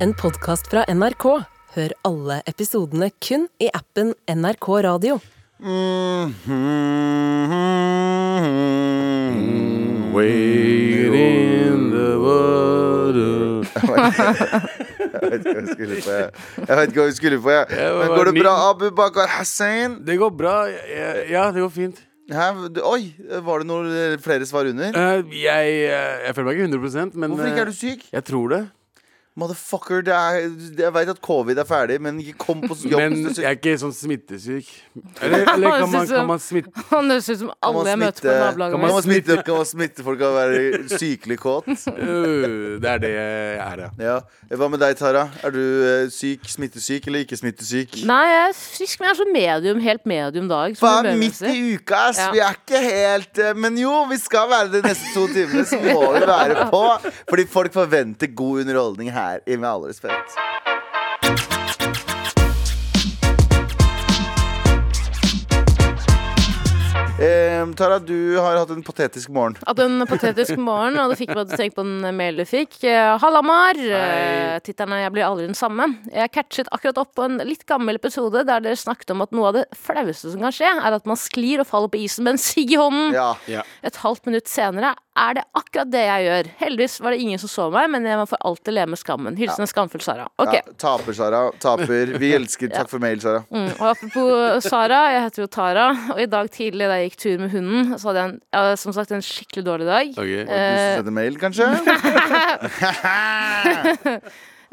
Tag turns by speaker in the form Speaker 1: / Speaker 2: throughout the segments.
Speaker 1: en podkast fra NRK. Hør alle episodene kun i appen NRK Radio.
Speaker 2: Wait in the water
Speaker 3: Jeg vet ikke hva jeg skulle på, jeg. Jeg vet ikke hva jeg skulle på, jeg.
Speaker 2: var
Speaker 3: Men går det
Speaker 2: min-
Speaker 3: bra, Abu Bakar Hussein?
Speaker 2: Det går bra. Jeg- Ja, det går fint.
Speaker 3: Hæ? Du- Oi, var det noen eh, flere svar under?
Speaker 2: Eh, Jeg, eh, jeg føler meg ikke 100 men eh,
Speaker 3: Hvorfor ikke er du syk?
Speaker 2: Jeg tror det.
Speaker 3: Motherfucker, det er, jeg veit at covid er ferdig, men ikke kom på jobb
Speaker 2: Men
Speaker 3: hvis du er
Speaker 2: jeg
Speaker 3: syk.
Speaker 2: er ikke sånn smittesyk. Eller, eller kan, man, kan man smitte
Speaker 4: Han høres ut som
Speaker 3: Kan man
Speaker 4: alle jeg møter på
Speaker 3: smitte-
Speaker 4: nabolaget
Speaker 3: Kan man
Speaker 4: mitt.
Speaker 3: smitte, kan man smitte folk av å være sykelig kåt?
Speaker 2: Øh, Det er det jeg er, ja.
Speaker 3: Ja. Hva med deg, Tara? Er du eh, syk, smittesyk eller ikke smittesyk?
Speaker 4: Nei, jeg er frisk, men jeg er så medium, helt medium dag. som
Speaker 3: Faen,
Speaker 4: det
Speaker 3: midt
Speaker 4: bevegelse.
Speaker 3: i uka, ass.
Speaker 4: Ja.
Speaker 3: Vi er ikke helt eh, Men jo, vi skal være det de neste to timene. Så må vi være på. Fordi folk forventer god underholdning her. i Med all respekt. Eh, Tara, du har hatt en patetisk morgen.
Speaker 4: At en patetisk morgen, og det fikk meg til å tenke på en mail du fikk. Eh, Halla, Mar. Eh, Tittelen er 'Jeg blir aldri den samme'. Jeg catchet akkurat opp på en litt gammel episode der dere snakket om at noe av det flaueste som kan skje, er at man sklir og faller på isen med en sigg i hånden.
Speaker 3: Ja.
Speaker 4: Et halvt minutt senere er det akkurat det jeg gjør. Heldigvis var det ingen som så meg, men jeg må for alltid leve med skammen. Hilsen en skamfull Sara. Ok.
Speaker 3: ja taper, Sara. Taper. Vi elsker Takk for mail, Sara.
Speaker 4: Mm, og apropos Sara, jeg heter jo Tara, og i dag tidlig da jeg gikk tur med hunden, så hadde jeg en, ja, som sagt en skikkelig dårlig dag.
Speaker 2: Ok.
Speaker 3: Du som sender mail, kanskje?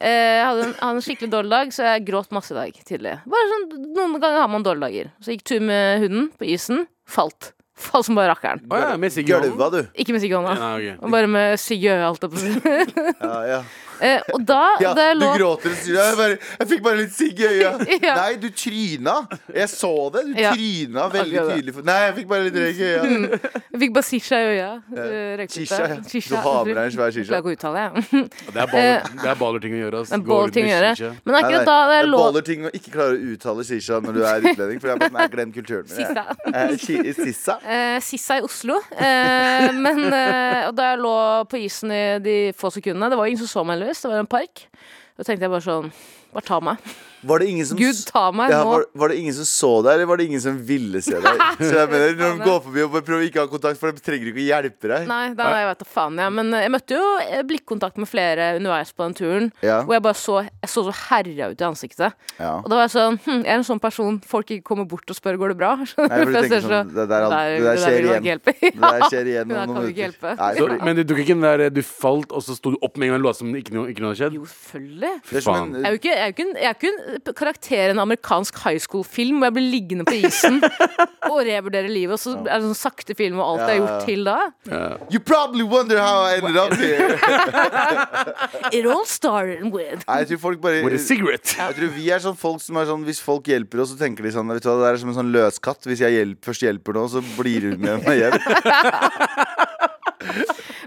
Speaker 4: Eh, jeg hadde en, hadde en skikkelig dårlig dag, så jeg gråt masse i dag tidlig. Bare sånn, Noen ganger har man dårlige dager. Så jeg gikk tur med hunden på isen, falt. Falt som bare rakkeren.
Speaker 2: Å ja, med Sigurd Holm.
Speaker 3: Gølva, du.
Speaker 4: Ikke med sigg i hånda.
Speaker 2: Nei, ok.
Speaker 4: Bare med sigg i øyet, holdt jeg på å si.
Speaker 3: Ja, ja.
Speaker 4: Eh, og da,
Speaker 3: Ja,
Speaker 4: da jeg
Speaker 3: du
Speaker 4: lå
Speaker 3: gråter og sier jeg, bare, jeg fikk bare litt sigg i øya.
Speaker 4: Ja.
Speaker 3: Nei, du tryna. Jeg så det. Du
Speaker 4: Ja. Mm,
Speaker 3: tryna veldig
Speaker 4: Akkurat det.
Speaker 3: tydelig. for- Nei, jeg fikk bare litt røyk i øya.
Speaker 4: Jeg fikk bare sisha i øya. eh, røykte
Speaker 3: Shisha,
Speaker 4: ut av-
Speaker 3: ja.
Speaker 4: Shisha.
Speaker 3: Du har med deg en svær shisha.
Speaker 4: Jeg klarer ikke å uttale det.
Speaker 2: Det er
Speaker 3: Eh,
Speaker 2: baller- det er ballerting å gjøre. ass.
Speaker 4: Men
Speaker 2: Gå rundt
Speaker 4: bålting å
Speaker 2: med
Speaker 4: gjøre.
Speaker 2: shisha.
Speaker 3: Nei,
Speaker 4: Men
Speaker 3: nei,
Speaker 4: akkurat da da jeg
Speaker 3: det
Speaker 4: lå
Speaker 3: baller ting å ikke klare å uttale shisha når du er utlending. For jeg bare, nei, glem kulturen min. jeg.
Speaker 4: Sissa.
Speaker 3: Eh, shi- Sissa?
Speaker 4: Eh, Sissa i Oslo. Eh, men eh, og da jeg lå på isen i de få sekundene Det var ingen som så meg, heldigvis. Det var en park. Da tenkte jeg bare sånn Bare ta meg.
Speaker 3: Var det ingen som
Speaker 4: Gud, ta meg
Speaker 3: ja,
Speaker 4: nå.
Speaker 3: var, var det ingen som så deg, eller var det ingen som ville se deg? Så jeg mener, Når de går forbi og bare prøver å ikke ha kontakt, for de trenger ikke å hjelpe deg.
Speaker 4: Nei, da, jeg vet da faen, jeg. Men eh, jeg møtte jo eh, blikkontakt med flere underveis på den turen.
Speaker 3: Ja.
Speaker 4: Hvor jeg bare så Jeg så så herja ut i ansiktet.
Speaker 3: Ja.
Speaker 4: Og da var jeg sånn hm, Jeg er en sånn person folk ikke kommer bort og spør går det bra.
Speaker 3: Nei, for du tenker
Speaker 4: jeg ser
Speaker 3: sånn, det der,
Speaker 4: Der-
Speaker 3: det der
Speaker 4: det der
Speaker 3: skjer
Speaker 4: vil man
Speaker 3: igjen.
Speaker 4: ikke hjelpe.
Speaker 3: Det der skjer igjen
Speaker 4: Ja,
Speaker 3: om
Speaker 4: det
Speaker 3: noen
Speaker 4: kan vi ikke
Speaker 3: minutter.
Speaker 4: hjelpe.
Speaker 3: Nei,
Speaker 2: Så,
Speaker 3: fordi-
Speaker 2: men du tok ikke den der eh, du falt, og så sto du opp med en gang og lot som ikke noe, ikke noe hadde skjedd?
Speaker 4: Jo, selvfølgelig.
Speaker 3: Det er som
Speaker 4: Jeg er
Speaker 3: en
Speaker 4: jo ikke, jeg er jo ikke, en- jeg er jo ikke en karakter i en amerikansk high school-film hvor jeg blir liggende på isen og revurdere livet, og så er det sånn sakte film og alt jeg har gjort til da.
Speaker 3: You probably wonder how I ended up here.
Speaker 4: It all started with
Speaker 3: Nei, jeg tror folk bare
Speaker 2: With a cigarette.
Speaker 3: jeg tror vi er sånn folk som er sånn Hvis folk hjelper oss, så tenker de sånn Vet du hva, det er som en sånn løskatt. Hvis jeg hjelp, først hjelper nå, så blir hun med meg hjem.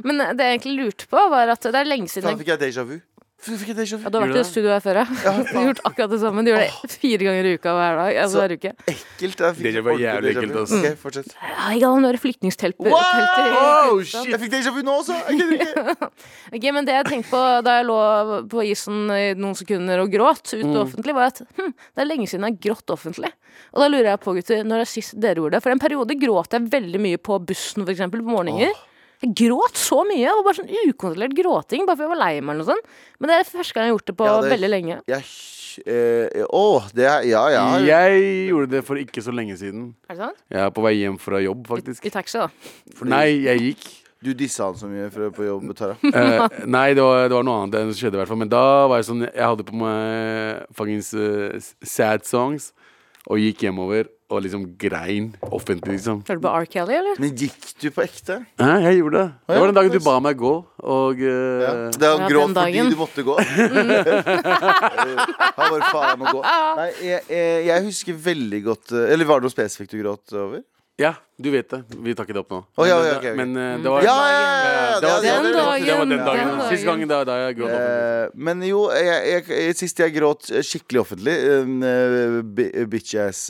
Speaker 4: Men eh, det jeg egentlig lurte på, var at det er lenge siden
Speaker 3: Da
Speaker 4: jeg
Speaker 3: fikk jeg déjà vu. Så fikk jeg déjà
Speaker 4: ja,
Speaker 3: vu.
Speaker 4: du har vært i
Speaker 2: Gjorde
Speaker 4: et studio her før, ja. Du har gjort akkurat det samme. Du gjør det fire ganger i uka hver dag. Altså
Speaker 3: Så-
Speaker 4: hver uke.
Speaker 3: Ekkelt. Jeg fikk
Speaker 2: Déjà vu er
Speaker 3: ordentlig
Speaker 2: jævlig
Speaker 3: déjà vu.
Speaker 2: ekkelt, ass.
Speaker 3: Ok, fortsett.
Speaker 4: Ja, jeg har noen flyktningstelter.
Speaker 3: Wow!
Speaker 2: Oh, shit!
Speaker 3: Jeg fikk déjà vu nå også! Jeg gidder ikke.
Speaker 4: Ok, men det jeg tenkte på da jeg lå på isen i noen sekunder og gråt ute
Speaker 3: Mm.
Speaker 4: offentlig, var at hm, det er lenge siden jeg har grått offentlig. Og da lurer jeg på, gutter, når det er sist dere gjorde det? For en periode gråt jeg veldig mye på bussen, for eksempel, på morgener. Jeg gråt så mye, og bare sånn ukontrollert gråting, bare fordi jeg var lei meg eller noe sånt. Men det er første gang jeg har gjort det på
Speaker 3: Ja, det-
Speaker 4: veldig lenge.
Speaker 3: Jeg eh, Å, det er Ja, ja.
Speaker 2: Jeg gjorde det for ikke så lenge siden.
Speaker 4: Er det sant?
Speaker 2: Jeg er på vei hjem fra jobb, faktisk.
Speaker 4: I taxi, da.
Speaker 2: Nei, jeg gikk.
Speaker 3: Du dissa han så mye for, på jobb, Tara.
Speaker 2: Eh, nei, det var, det var noe annet enn som skjedde, i hvert fall. Men da var jeg sånn Jeg hadde på meg fuckings eh, sad songs og gikk hjemover og liksom grein offentlig, liksom.
Speaker 4: Hørte du på R. Kelly, eller?
Speaker 3: Men gikk du på ekte?
Speaker 2: Hæ, jeg gjorde det.
Speaker 3: ja,
Speaker 2: Det var den dagen du
Speaker 3: nice.
Speaker 2: ba meg gå, og eh,
Speaker 3: Ja. Det er
Speaker 4: Ja,
Speaker 3: han gråt
Speaker 4: den
Speaker 3: fordi
Speaker 4: dagen.
Speaker 3: du måtte gå. Han bare faen må gå. Nei, jeg, jeg, jeg husker veldig godt eh, Eller var det noe spesifikt du gråt over?
Speaker 2: ja. Du vet det. Vi tar ikke det opp nå.
Speaker 3: Å, ja,
Speaker 2: Men,
Speaker 3: ja, ok, ok.
Speaker 2: men eh, det var
Speaker 3: Ja, ja, ja, ja, ja,
Speaker 2: det var-
Speaker 3: det hadde jeg
Speaker 4: Den
Speaker 3: glemt.
Speaker 4: dagen,
Speaker 2: Det var den
Speaker 4: den
Speaker 2: dagen.
Speaker 4: dagen.
Speaker 2: Siste gangen da, da jeg gråt. offentlig.
Speaker 3: Eh, men jo, jeg, jeg, jeg, sist jeg gråt skikkelig offentlig, en eh, bi-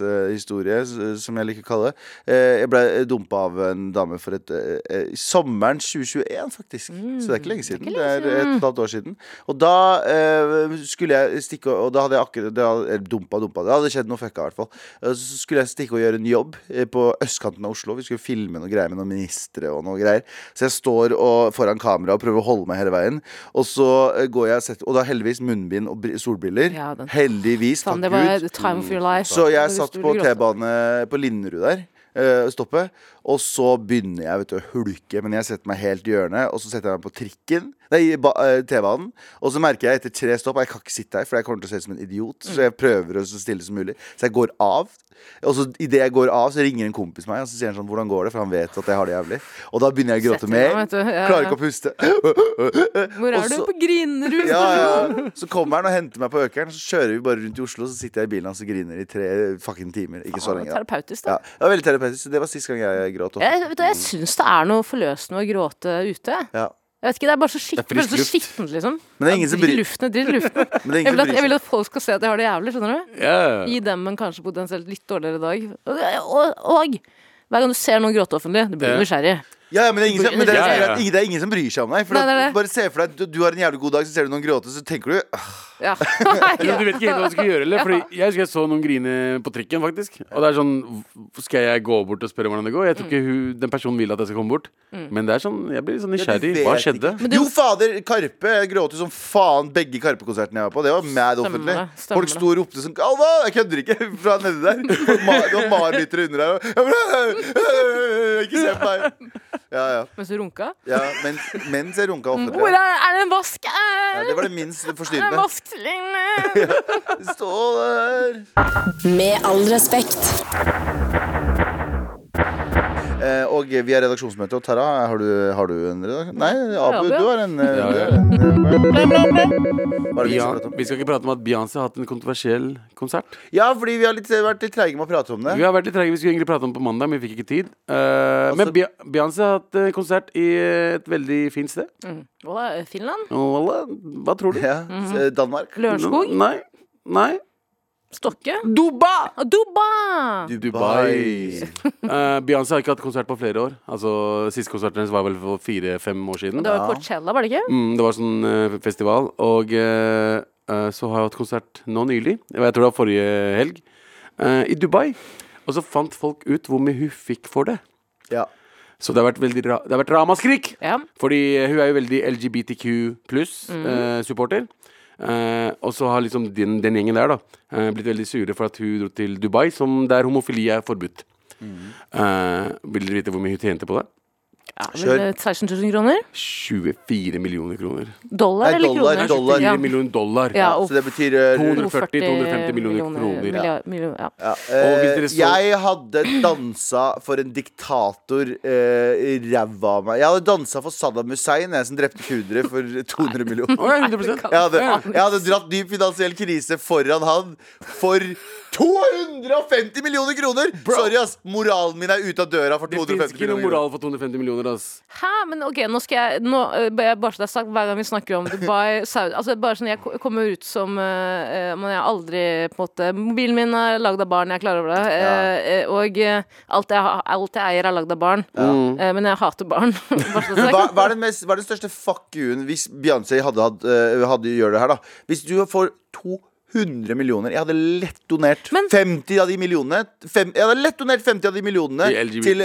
Speaker 3: bitch-ass-historie, s- som jeg liker å kalle det eh, Jeg ble dumpa av en dame for et eh, eh, Sommeren 2021, faktisk. Så det er ikke lenge siden. Mm, Det er et og et halvt år siden. Og da eh, skulle jeg stikke og- Og da hadde jeg akkurat det hadde, eller dumpa, dumpa. Det hadde skjedd noe fucka, i hvert fall. Eh, Så skulle jeg stikke og gjøre en jobb eh, på østkanten av Oslo. Vi skulle filme noe greier med noen ministre og noe greier. Så jeg står og, foran kamera og prøver å holde meg hele veien. Og så eh, går jeg og setter Og da heldigvis munnbind og bri- solbriller.
Speaker 4: Ja, den-
Speaker 3: heldigvis,
Speaker 4: Faen,
Speaker 3: takk
Speaker 4: det var
Speaker 3: Gud.
Speaker 4: the time of your life.
Speaker 3: Så jeg
Speaker 4: Hvis
Speaker 3: satt
Speaker 4: du
Speaker 3: på
Speaker 4: ville gråte.
Speaker 3: T-bane på Linderud der. eh, stoppet, og så begynner jeg vet du, å hulke, men jeg setter meg helt i hjørnet. Og så setter jeg meg på trikken Nei, i ba- eh, T-banen. Og så merker jeg etter tre stopp Jeg kan ikke sitte her, for jeg kommer til å se ut som en idiot. Så jeg prøver å være så stille som mulig. Så jeg går av. Og så idet jeg går av, så ringer en kompis meg og så sier han sånn 'Hvordan går det?' For han vet at jeg har det jævlig. Og da begynner jeg å
Speaker 4: Setter
Speaker 3: gråte mer.
Speaker 4: meg, vet du. Ja,
Speaker 3: Klarer
Speaker 4: ja.
Speaker 3: ikke å puste.
Speaker 4: Hvor
Speaker 3: Og
Speaker 4: er du?
Speaker 3: så-
Speaker 4: På Grinerud?
Speaker 3: Ja, ja. Så kommer han og henter meg på økeren, så kjører vi bare rundt i Oslo. Så sitter jeg i bilen hans og griner i tre fucking timer. Ikke så
Speaker 4: Faen,
Speaker 3: lenge, da.
Speaker 4: Terapeutisk,
Speaker 3: Ja,
Speaker 4: da.
Speaker 3: det var veldig terapeutisk. Det var sist gang jeg gråt. Også.
Speaker 4: Jeg, vet du, jeg syns det er noe forløsende å gråte ute.
Speaker 3: Ja.
Speaker 4: Jeg vet ikke, Det er bare så skitt-
Speaker 2: Det er frisk
Speaker 4: bare så skittent, liksom.
Speaker 3: Men det er ingen som
Speaker 4: Drit i
Speaker 3: bryr-
Speaker 4: luften, drit i luften.
Speaker 3: Men det er ingen
Speaker 4: Jeg vil,
Speaker 3: som
Speaker 4: at, jeg
Speaker 3: bryr
Speaker 4: vil
Speaker 3: seg.
Speaker 4: at folk skal se at jeg har det jævlig, skjønner du?
Speaker 2: Ja.
Speaker 4: Gi dem en kanskje potensielt litt dårligere dag. Og, og, og hver gang du ser noen gråte offentlig, du blir
Speaker 2: Ja.
Speaker 4: jo nysgjerrig.
Speaker 3: Ja, ja, men det er ingen som, men det er,
Speaker 2: Ja, ja, ja.
Speaker 3: det er ingen- det er ingen som bryr seg om deg. For
Speaker 4: Nei, det
Speaker 3: at-
Speaker 4: er det.
Speaker 3: Bare se for deg at du, du har en jævlig god dag, så ser du noen gråte, så tenker du «Åh,
Speaker 4: Ja.
Speaker 2: Eller Du vet ikke helt hva du skal gjøre, eller? Fordi jeg husker jeg så noen grine på trikken, faktisk. Og det er sånn v- Skal jeg gå bort og spørre hvordan det går? Jeg tror ikke hun, den personen vil at jeg skal komme bort. Men det er sånn, jeg blir sånn
Speaker 3: jeg
Speaker 2: nysgjerrig.
Speaker 3: vet
Speaker 2: Hva
Speaker 3: ikke».
Speaker 2: skjedde?
Speaker 3: Jo, fader, Karpe jeg gråt jo som faen begge Karpe-konsertene jeg var på. Det var mad
Speaker 4: Stemmer
Speaker 3: offentlig.
Speaker 4: det, stemmer
Speaker 3: Folk
Speaker 4: det.
Speaker 3: sto og ropte som Alva! Jeg kødder ikke! Fra nedi der. Folk ma- Det var mareritter under der. og jeg bare, Ikke se på meg! Ja, ja.
Speaker 4: Mens du runka.
Speaker 3: ja mens, mens jeg runka
Speaker 4: Hvor
Speaker 3: offentlig.
Speaker 4: er, er det en vask?
Speaker 3: Ja, det var det minst
Speaker 4: Er det en
Speaker 3: forstyrrende.
Speaker 4: vask?
Speaker 3: Stå der!
Speaker 1: Med all respekt.
Speaker 3: Eh, og vi har redaksjonsmøte, og Tara, har du, har du en redaksjon? Nei, Abu,
Speaker 4: Abu, ja.
Speaker 3: du har en. eh,
Speaker 2: Ja,
Speaker 3: du har
Speaker 2: ja.
Speaker 3: en, eh, Hva er det vi
Speaker 2: Ja,
Speaker 3: skal prate om?
Speaker 2: vi skal ikke prate om at Beyoncé har hatt en kontroversiell konsert.
Speaker 3: Ja, fordi vi har litt, vært litt treige med å prate om det.
Speaker 2: Vi har vært litt trege, vi skulle egentlig prate om det på mandag, men vi fikk ikke tid. Eh, men Bey- Beyoncé har hatt eh, konsert i et veldig fint sted.
Speaker 4: Mm. Hva, Finland?
Speaker 2: Walla, Hva tror du?
Speaker 3: Ja,
Speaker 4: Mhm.
Speaker 3: eh, Danmark.
Speaker 4: Lørenskog?
Speaker 2: Nei. Nei.
Speaker 4: Stokke?
Speaker 2: Dubai!
Speaker 4: Og Dubai!
Speaker 2: Dubai. Eh, Beyoncé har ikke hatt konsert på flere år. Altså, Siste konserten hennes var vel for fire-fem år siden.
Speaker 4: Det var Porcella, var det ikke?
Speaker 2: Mm, det var sånn eh, festival. Og eh, eh, så har jeg hatt konsert nå nylig, og jeg tror det var forrige helg, eh, i Dubai. Og så fant folk ut hvor mye hun fikk for det.
Speaker 3: Ja.
Speaker 2: Så det har vært, veldig ra det har vært ramaskrik!
Speaker 4: Ja.
Speaker 2: Fordi eh, hun er jo veldig LGBTQ
Speaker 4: Mm.
Speaker 2: pluss-supporter. eh, og så har liksom den, den gjengen der da eh, blitt veldig sure for at hun dro til Dubai, som der homofili er forbudt.
Speaker 4: Mm.
Speaker 2: Eh, vil dere vite hvor mye hun tjente på det?
Speaker 4: Ja, men,
Speaker 3: Kjør.
Speaker 4: eh, 16 000 kroner?
Speaker 2: 24 millioner kroner.
Speaker 4: Dollar
Speaker 3: Nei,
Speaker 4: eller
Speaker 3: dollar,
Speaker 4: kroner?
Speaker 2: Nei,
Speaker 3: dollar.
Speaker 2: 24
Speaker 4: Ja.
Speaker 2: millioner dollar.
Speaker 4: Ja,
Speaker 3: Så det betyr eh,
Speaker 2: 200.
Speaker 3: rundt-
Speaker 2: 240, 250 millioner kroner.
Speaker 4: milliard- million- ja.
Speaker 3: ja.
Speaker 2: Og hvis dere
Speaker 3: eh,
Speaker 2: så-
Speaker 3: Jeg hadde dansa for en diktator eh, i ræva av meg. Jeg hadde dansa for Saddam Hussein, jeg som drepte kurdere for 200 millioner.
Speaker 2: Å, ja, 100
Speaker 3: Jeg hadde, jeg hadde dratt dyp finansiell krise foran han for 250 millioner kroner! Sorry, ass. Moralen min er ute av døra for
Speaker 2: Det fins
Speaker 3: 250
Speaker 2: ikke noe
Speaker 3: millioner kroner.
Speaker 2: moral for 250 millioner, ass.
Speaker 4: Hæ, men ok, nå skal jeg nå, eh, bare- Bare så det er sagt, hver gang vi snakker om Dubai Saudi, altså bare sånn, Jeg ko- kommer ut som eh, eh, Man jeg har aldri på en måte Mobilen min er lagd av barn, jeg er klar over det. eh, eh, og eh, alt, jeg, har- alt jeg eier, er lagd av barn. Eh, men jeg hater barn. bare så det er sagt.
Speaker 3: Hva, hva, er den mest, hva er den største fuck you-en hvis Beyoncé hadde, hatt, eh, hadde gjør det her, da? Hvis du får 200 millioner Jeg hadde lett donert
Speaker 4: Men-
Speaker 3: 50 av de millionene fem, Jeg hadde lett donert 50 av de millionene
Speaker 2: Til LGBT.
Speaker 3: til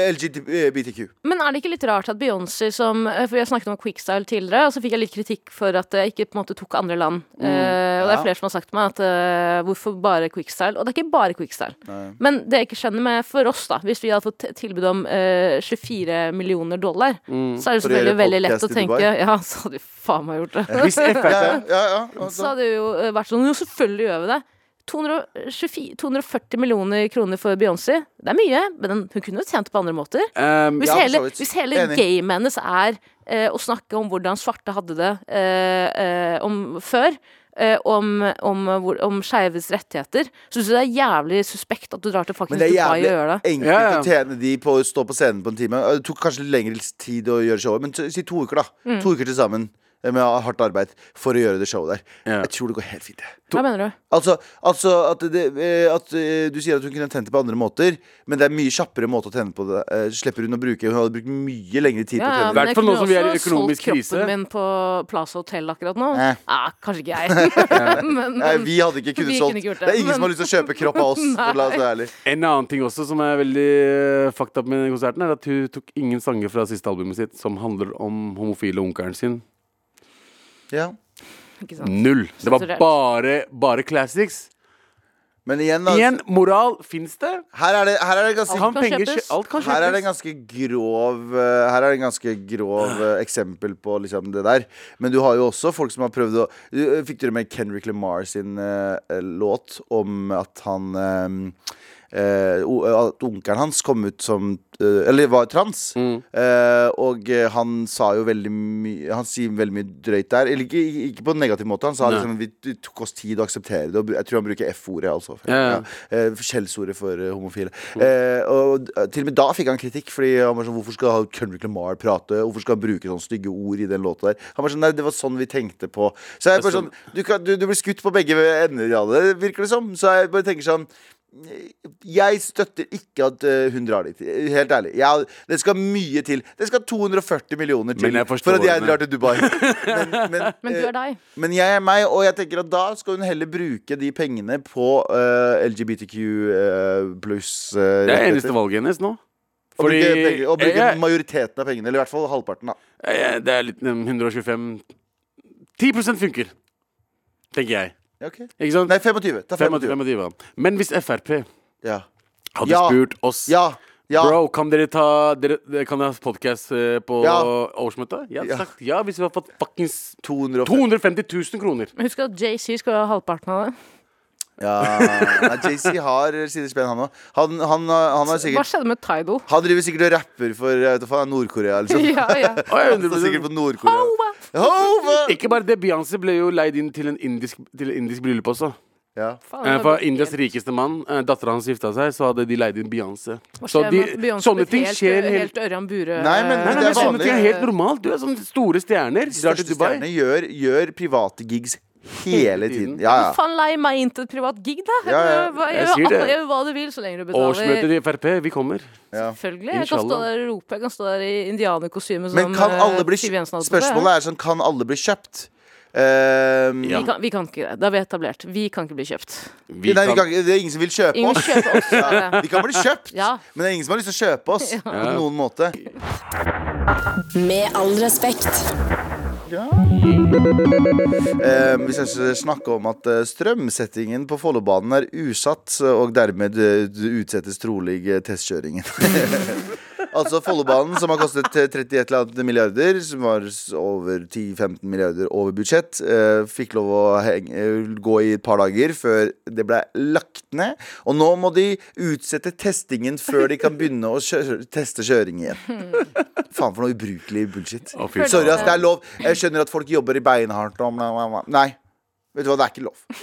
Speaker 3: LGBTQ.
Speaker 4: Men er det ikke litt rart at Beyoncé som eh, For jeg snakket om Quickstyle tidligere, og så fikk jeg litt kritikk for at jeg ikke på en måte tok andre land. Eh, og det
Speaker 3: Mm, ja.
Speaker 4: er flere som har sagt til meg at eh, hvorfor bare Quickstyle? Og det er ikke bare Quickstyle. Men det jeg ikke skjønner med for oss, da, hvis vi hadde fått tilbud om eh, 24 millioner dollar, så er det
Speaker 3: For å gjøre
Speaker 4: selvfølgelig veldig lett å
Speaker 3: podcast i
Speaker 4: tenke
Speaker 3: Dubai?
Speaker 4: Ja, så hadde vi faen meg gjort det.
Speaker 2: Hvis
Speaker 3: Ja,
Speaker 2: Frp
Speaker 3: ja, ja, altså.
Speaker 4: så hadde det jo eh, vært sånn Jo, selvfølgelig gjør vi det. 224, 240 millioner kroner for Beyoncé, det er mye, men den- hun kunne jo tjent på andre måter.
Speaker 2: um,
Speaker 4: Hvis
Speaker 3: Ja, for så
Speaker 4: hele,
Speaker 3: vidt.
Speaker 4: hvis hele
Speaker 3: Enig.
Speaker 4: gamet hennes er eh, å snakke om hvordan svarte hadde det eh, eh, om før, eh, om, om, hvor- om skeives rettigheter, så syns jeg det er jævlig suspekt at du drar til
Speaker 3: Men
Speaker 4: faktisk
Speaker 3: det er
Speaker 4: Dubai og gjør
Speaker 3: jævlig
Speaker 4: det.
Speaker 3: enkelt
Speaker 2: Ja, ja.
Speaker 3: å tjene de på å stå på scenen på en time. Det tok kanskje lengre tid å gjøre showet, men t- si to uker, da.
Speaker 4: Mm.
Speaker 3: To uker til sammen eh, med hardt arbeid for å gjøre det showet der.
Speaker 2: Ja.
Speaker 3: Jeg tror det går helt fint. jeg.
Speaker 4: Hva mener du?
Speaker 3: Altså, altså at, det, eh, at eh, du sier at hun kunne tjent det på andre måter, men det er mye kjappere måte å tjene på det. Eh, Slipper hun å bruke Hun hadde brukt mye lengre tid på å tjene det.
Speaker 2: men- Hvertfall nå som vi er i økonomisk
Speaker 4: solgt
Speaker 2: krise.
Speaker 4: kroppen min på Plaza Hotel akkurat nå.
Speaker 3: Eh.
Speaker 4: Ah, kanskje ikke jeg. men,
Speaker 3: Nei,
Speaker 4: men,
Speaker 3: vi hadde ikke kunnet
Speaker 4: Vi
Speaker 3: solgt.
Speaker 4: kunne ikke gjort det,
Speaker 3: det er ingen som har
Speaker 4: men-
Speaker 3: lyst til å kjøpe kropp av oss. for La oss være ærlig.
Speaker 2: En annen ting også som er veldig eh, fucked up med den konserten, er at hun tok ingen sanger fra siste albumet sitt som handler om homofile onkelen sin.
Speaker 3: Ja.
Speaker 4: ikke sant.
Speaker 2: Null. Det var
Speaker 4: Sensurert.
Speaker 2: bare, bare classics.
Speaker 3: Men igjen, da.
Speaker 2: Igjen, moral fins det.
Speaker 3: Her er det, her er det ganske
Speaker 2: Kan
Speaker 4: kan
Speaker 2: penger
Speaker 4: kjøpes.
Speaker 2: kjø- Alt kan
Speaker 3: Her er det
Speaker 2: kjøpes.
Speaker 3: en ganske grov eh, Her er det en ganske grov eh, eksempel på liksom det der. Men du har jo også folk som har prøvd å du, eh, Fikk dere med Kendrick Lamar sin eh, eh, låt om at han eh, eh, o- At onkelen hans kom ut som eh, Eller var trans. Eh, og eh, han sa jo veldig mye Han sier veldig mye drøyt der. Eller ikke, ikke på en negativ måte. Han sa
Speaker 2: Nei.
Speaker 3: liksom vi det tok oss tid å akseptere det. Og br- jeg tror han bruker F-ordet også.
Speaker 2: Ja, Mm. ja.
Speaker 3: Eh, Skjellsordet for eh, homofile. Eh, og d- til og med da fikk han kritikk. Fordi han var sånn, Hvorfor skal Kendrick Lamar prate? Hvorfor skal han bruke sånne stygge ord i den låta der? Han var sånn, Nei, det var sånn vi tenkte på. Så jeg er bare
Speaker 2: Altså,
Speaker 3: sånn Du, kan, du, du blir skutt på begge ender av det, virker det som. Så jeg bare tenker sånn jeg støtter ikke at eh, hun drar dit. Helt ærlig. Jeg, det skal mye til. Det skal 240 millioner til
Speaker 2: Men jeg forstår
Speaker 3: for at jeg
Speaker 2: henne.
Speaker 3: drar til Dubai. Men, men,
Speaker 4: Men du
Speaker 3: eh,
Speaker 4: er deg.
Speaker 3: men jeg er meg, og jeg tenker at da skal hun heller bruke de pengene på eh, LGBTQ eh, pluss
Speaker 2: Det er eneste valget hennes nå.
Speaker 3: Og
Speaker 2: Fordi
Speaker 3: bruke, penger, og bruke
Speaker 2: jeg,
Speaker 3: majoriteten av pengene, eller i hvert fall halvparten. da
Speaker 2: jeg, det er litt um, 125 10 funker, tenker jeg.
Speaker 3: Ja, ok.
Speaker 2: Ikke sant?
Speaker 3: Nei, 25. Ta 25.
Speaker 2: 25, 25. Men hvis Frp
Speaker 3: Ja.
Speaker 2: hadde
Speaker 3: Ja.
Speaker 2: spurt oss
Speaker 3: Ja, ja.
Speaker 2: Bro, kan dere ta dere, dere- Kan dere ha podkast på
Speaker 3: Ja.
Speaker 2: årsmøtet? Jeg hadde
Speaker 3: Ja.
Speaker 2: sagt ja hvis vi hadde fått fuckings
Speaker 3: 250.
Speaker 2: 250 000 kroner.
Speaker 4: Men Husk at JC skal ha halvparten av det.
Speaker 3: Ja. Nei, JC har sine spenn, han òg. Han, han, han, har
Speaker 4: Hva
Speaker 3: sikkert-
Speaker 4: skjedde med Tidal?
Speaker 3: han driver sikkert og rapper for jeg vet da faen, Nord-Korea, liksom.
Speaker 4: ja, ja.
Speaker 2: Oi,
Speaker 3: Han står
Speaker 2: 100%.
Speaker 3: sikkert på Nord-Korea. Hova!
Speaker 2: Ikke bare det, Beyoncé ble jo leid inn til en indisk, til en indisk bryllup også.
Speaker 3: Ja.
Speaker 4: Faen,
Speaker 2: Eh,
Speaker 4: det var
Speaker 2: For Indias rikeste mann, eh, dattera hans gifta seg, så hadde de leid inn Beyoncé. Så
Speaker 4: skjer
Speaker 2: de,
Speaker 4: med at Beyoncé
Speaker 2: sånne
Speaker 4: blir
Speaker 2: ting
Speaker 4: helt,
Speaker 2: skjer helt
Speaker 4: helt Ørjan Burøe.
Speaker 3: Nei, men-
Speaker 2: Nei, nei,
Speaker 3: Det er
Speaker 2: men sånne
Speaker 3: vanlig.
Speaker 2: ting er helt normalt. Du er sånne store stjerner.
Speaker 3: De
Speaker 2: Drar
Speaker 3: største
Speaker 2: til Dubai.
Speaker 3: stjernene gjør, gjør private gigs hele tiden. Ja, ja.
Speaker 4: Faen, lei meg inn til et privat gig, da.
Speaker 3: Ja, ja,
Speaker 4: Hva-
Speaker 2: jeg
Speaker 4: gjør
Speaker 2: sier det.
Speaker 4: alle- gjør hva du vil, så lenge du betaler.
Speaker 2: Årsmøtet i Frp, vi kommer.
Speaker 3: Ja.
Speaker 4: Selvfølgelig. Jeg kan stå
Speaker 2: Inshallah.
Speaker 4: der og rope. Jeg kan stå der i indianerkostyme. eh,
Speaker 3: Men kan alle bli kjøpt? Spørsmålet er sånn, kan alle bli kjøpt? Ehm,
Speaker 2: Ja.
Speaker 4: vi kan, vi kan ikke det. Da er vi etablert. Vi kan ikke bli kjøpt.
Speaker 2: Vi
Speaker 3: nei, vi
Speaker 2: kan-
Speaker 3: kan, ikke- det er ingen som vil kjøpe
Speaker 4: Ingen
Speaker 3: oss.
Speaker 4: kjøper oss.
Speaker 3: Ja, vi kan bli kjøpt,
Speaker 4: Ja.
Speaker 3: men det er ingen som har lyst til å kjøpe oss på noen måte.
Speaker 1: Med all respekt.
Speaker 3: Ehm, vi skal s- snakke om at eh, strømsettingen på Follobanen er usatt, og dermed eh, utsettes trolig eh, testkjøringen. altså Follobanen, som har kostet eh, 31 eller annet milliarder, som var s- over 10-15 milliarder over budsjett, eh, fikk lov å heng- eh, gå i et par dager før det ble lagt ned. Og nå må de utsette testingen før de kan begynne å kjø teste kjøring igjen. Faen for noe ubrukelig bullshit.
Speaker 2: Å, fy
Speaker 3: Sorry,
Speaker 2: faen.
Speaker 3: ass, det er lov. Jeg skjønner at folk jobber i beinhardt og bla, bla, bla. Nei. Vet du hva, det er ikke lov.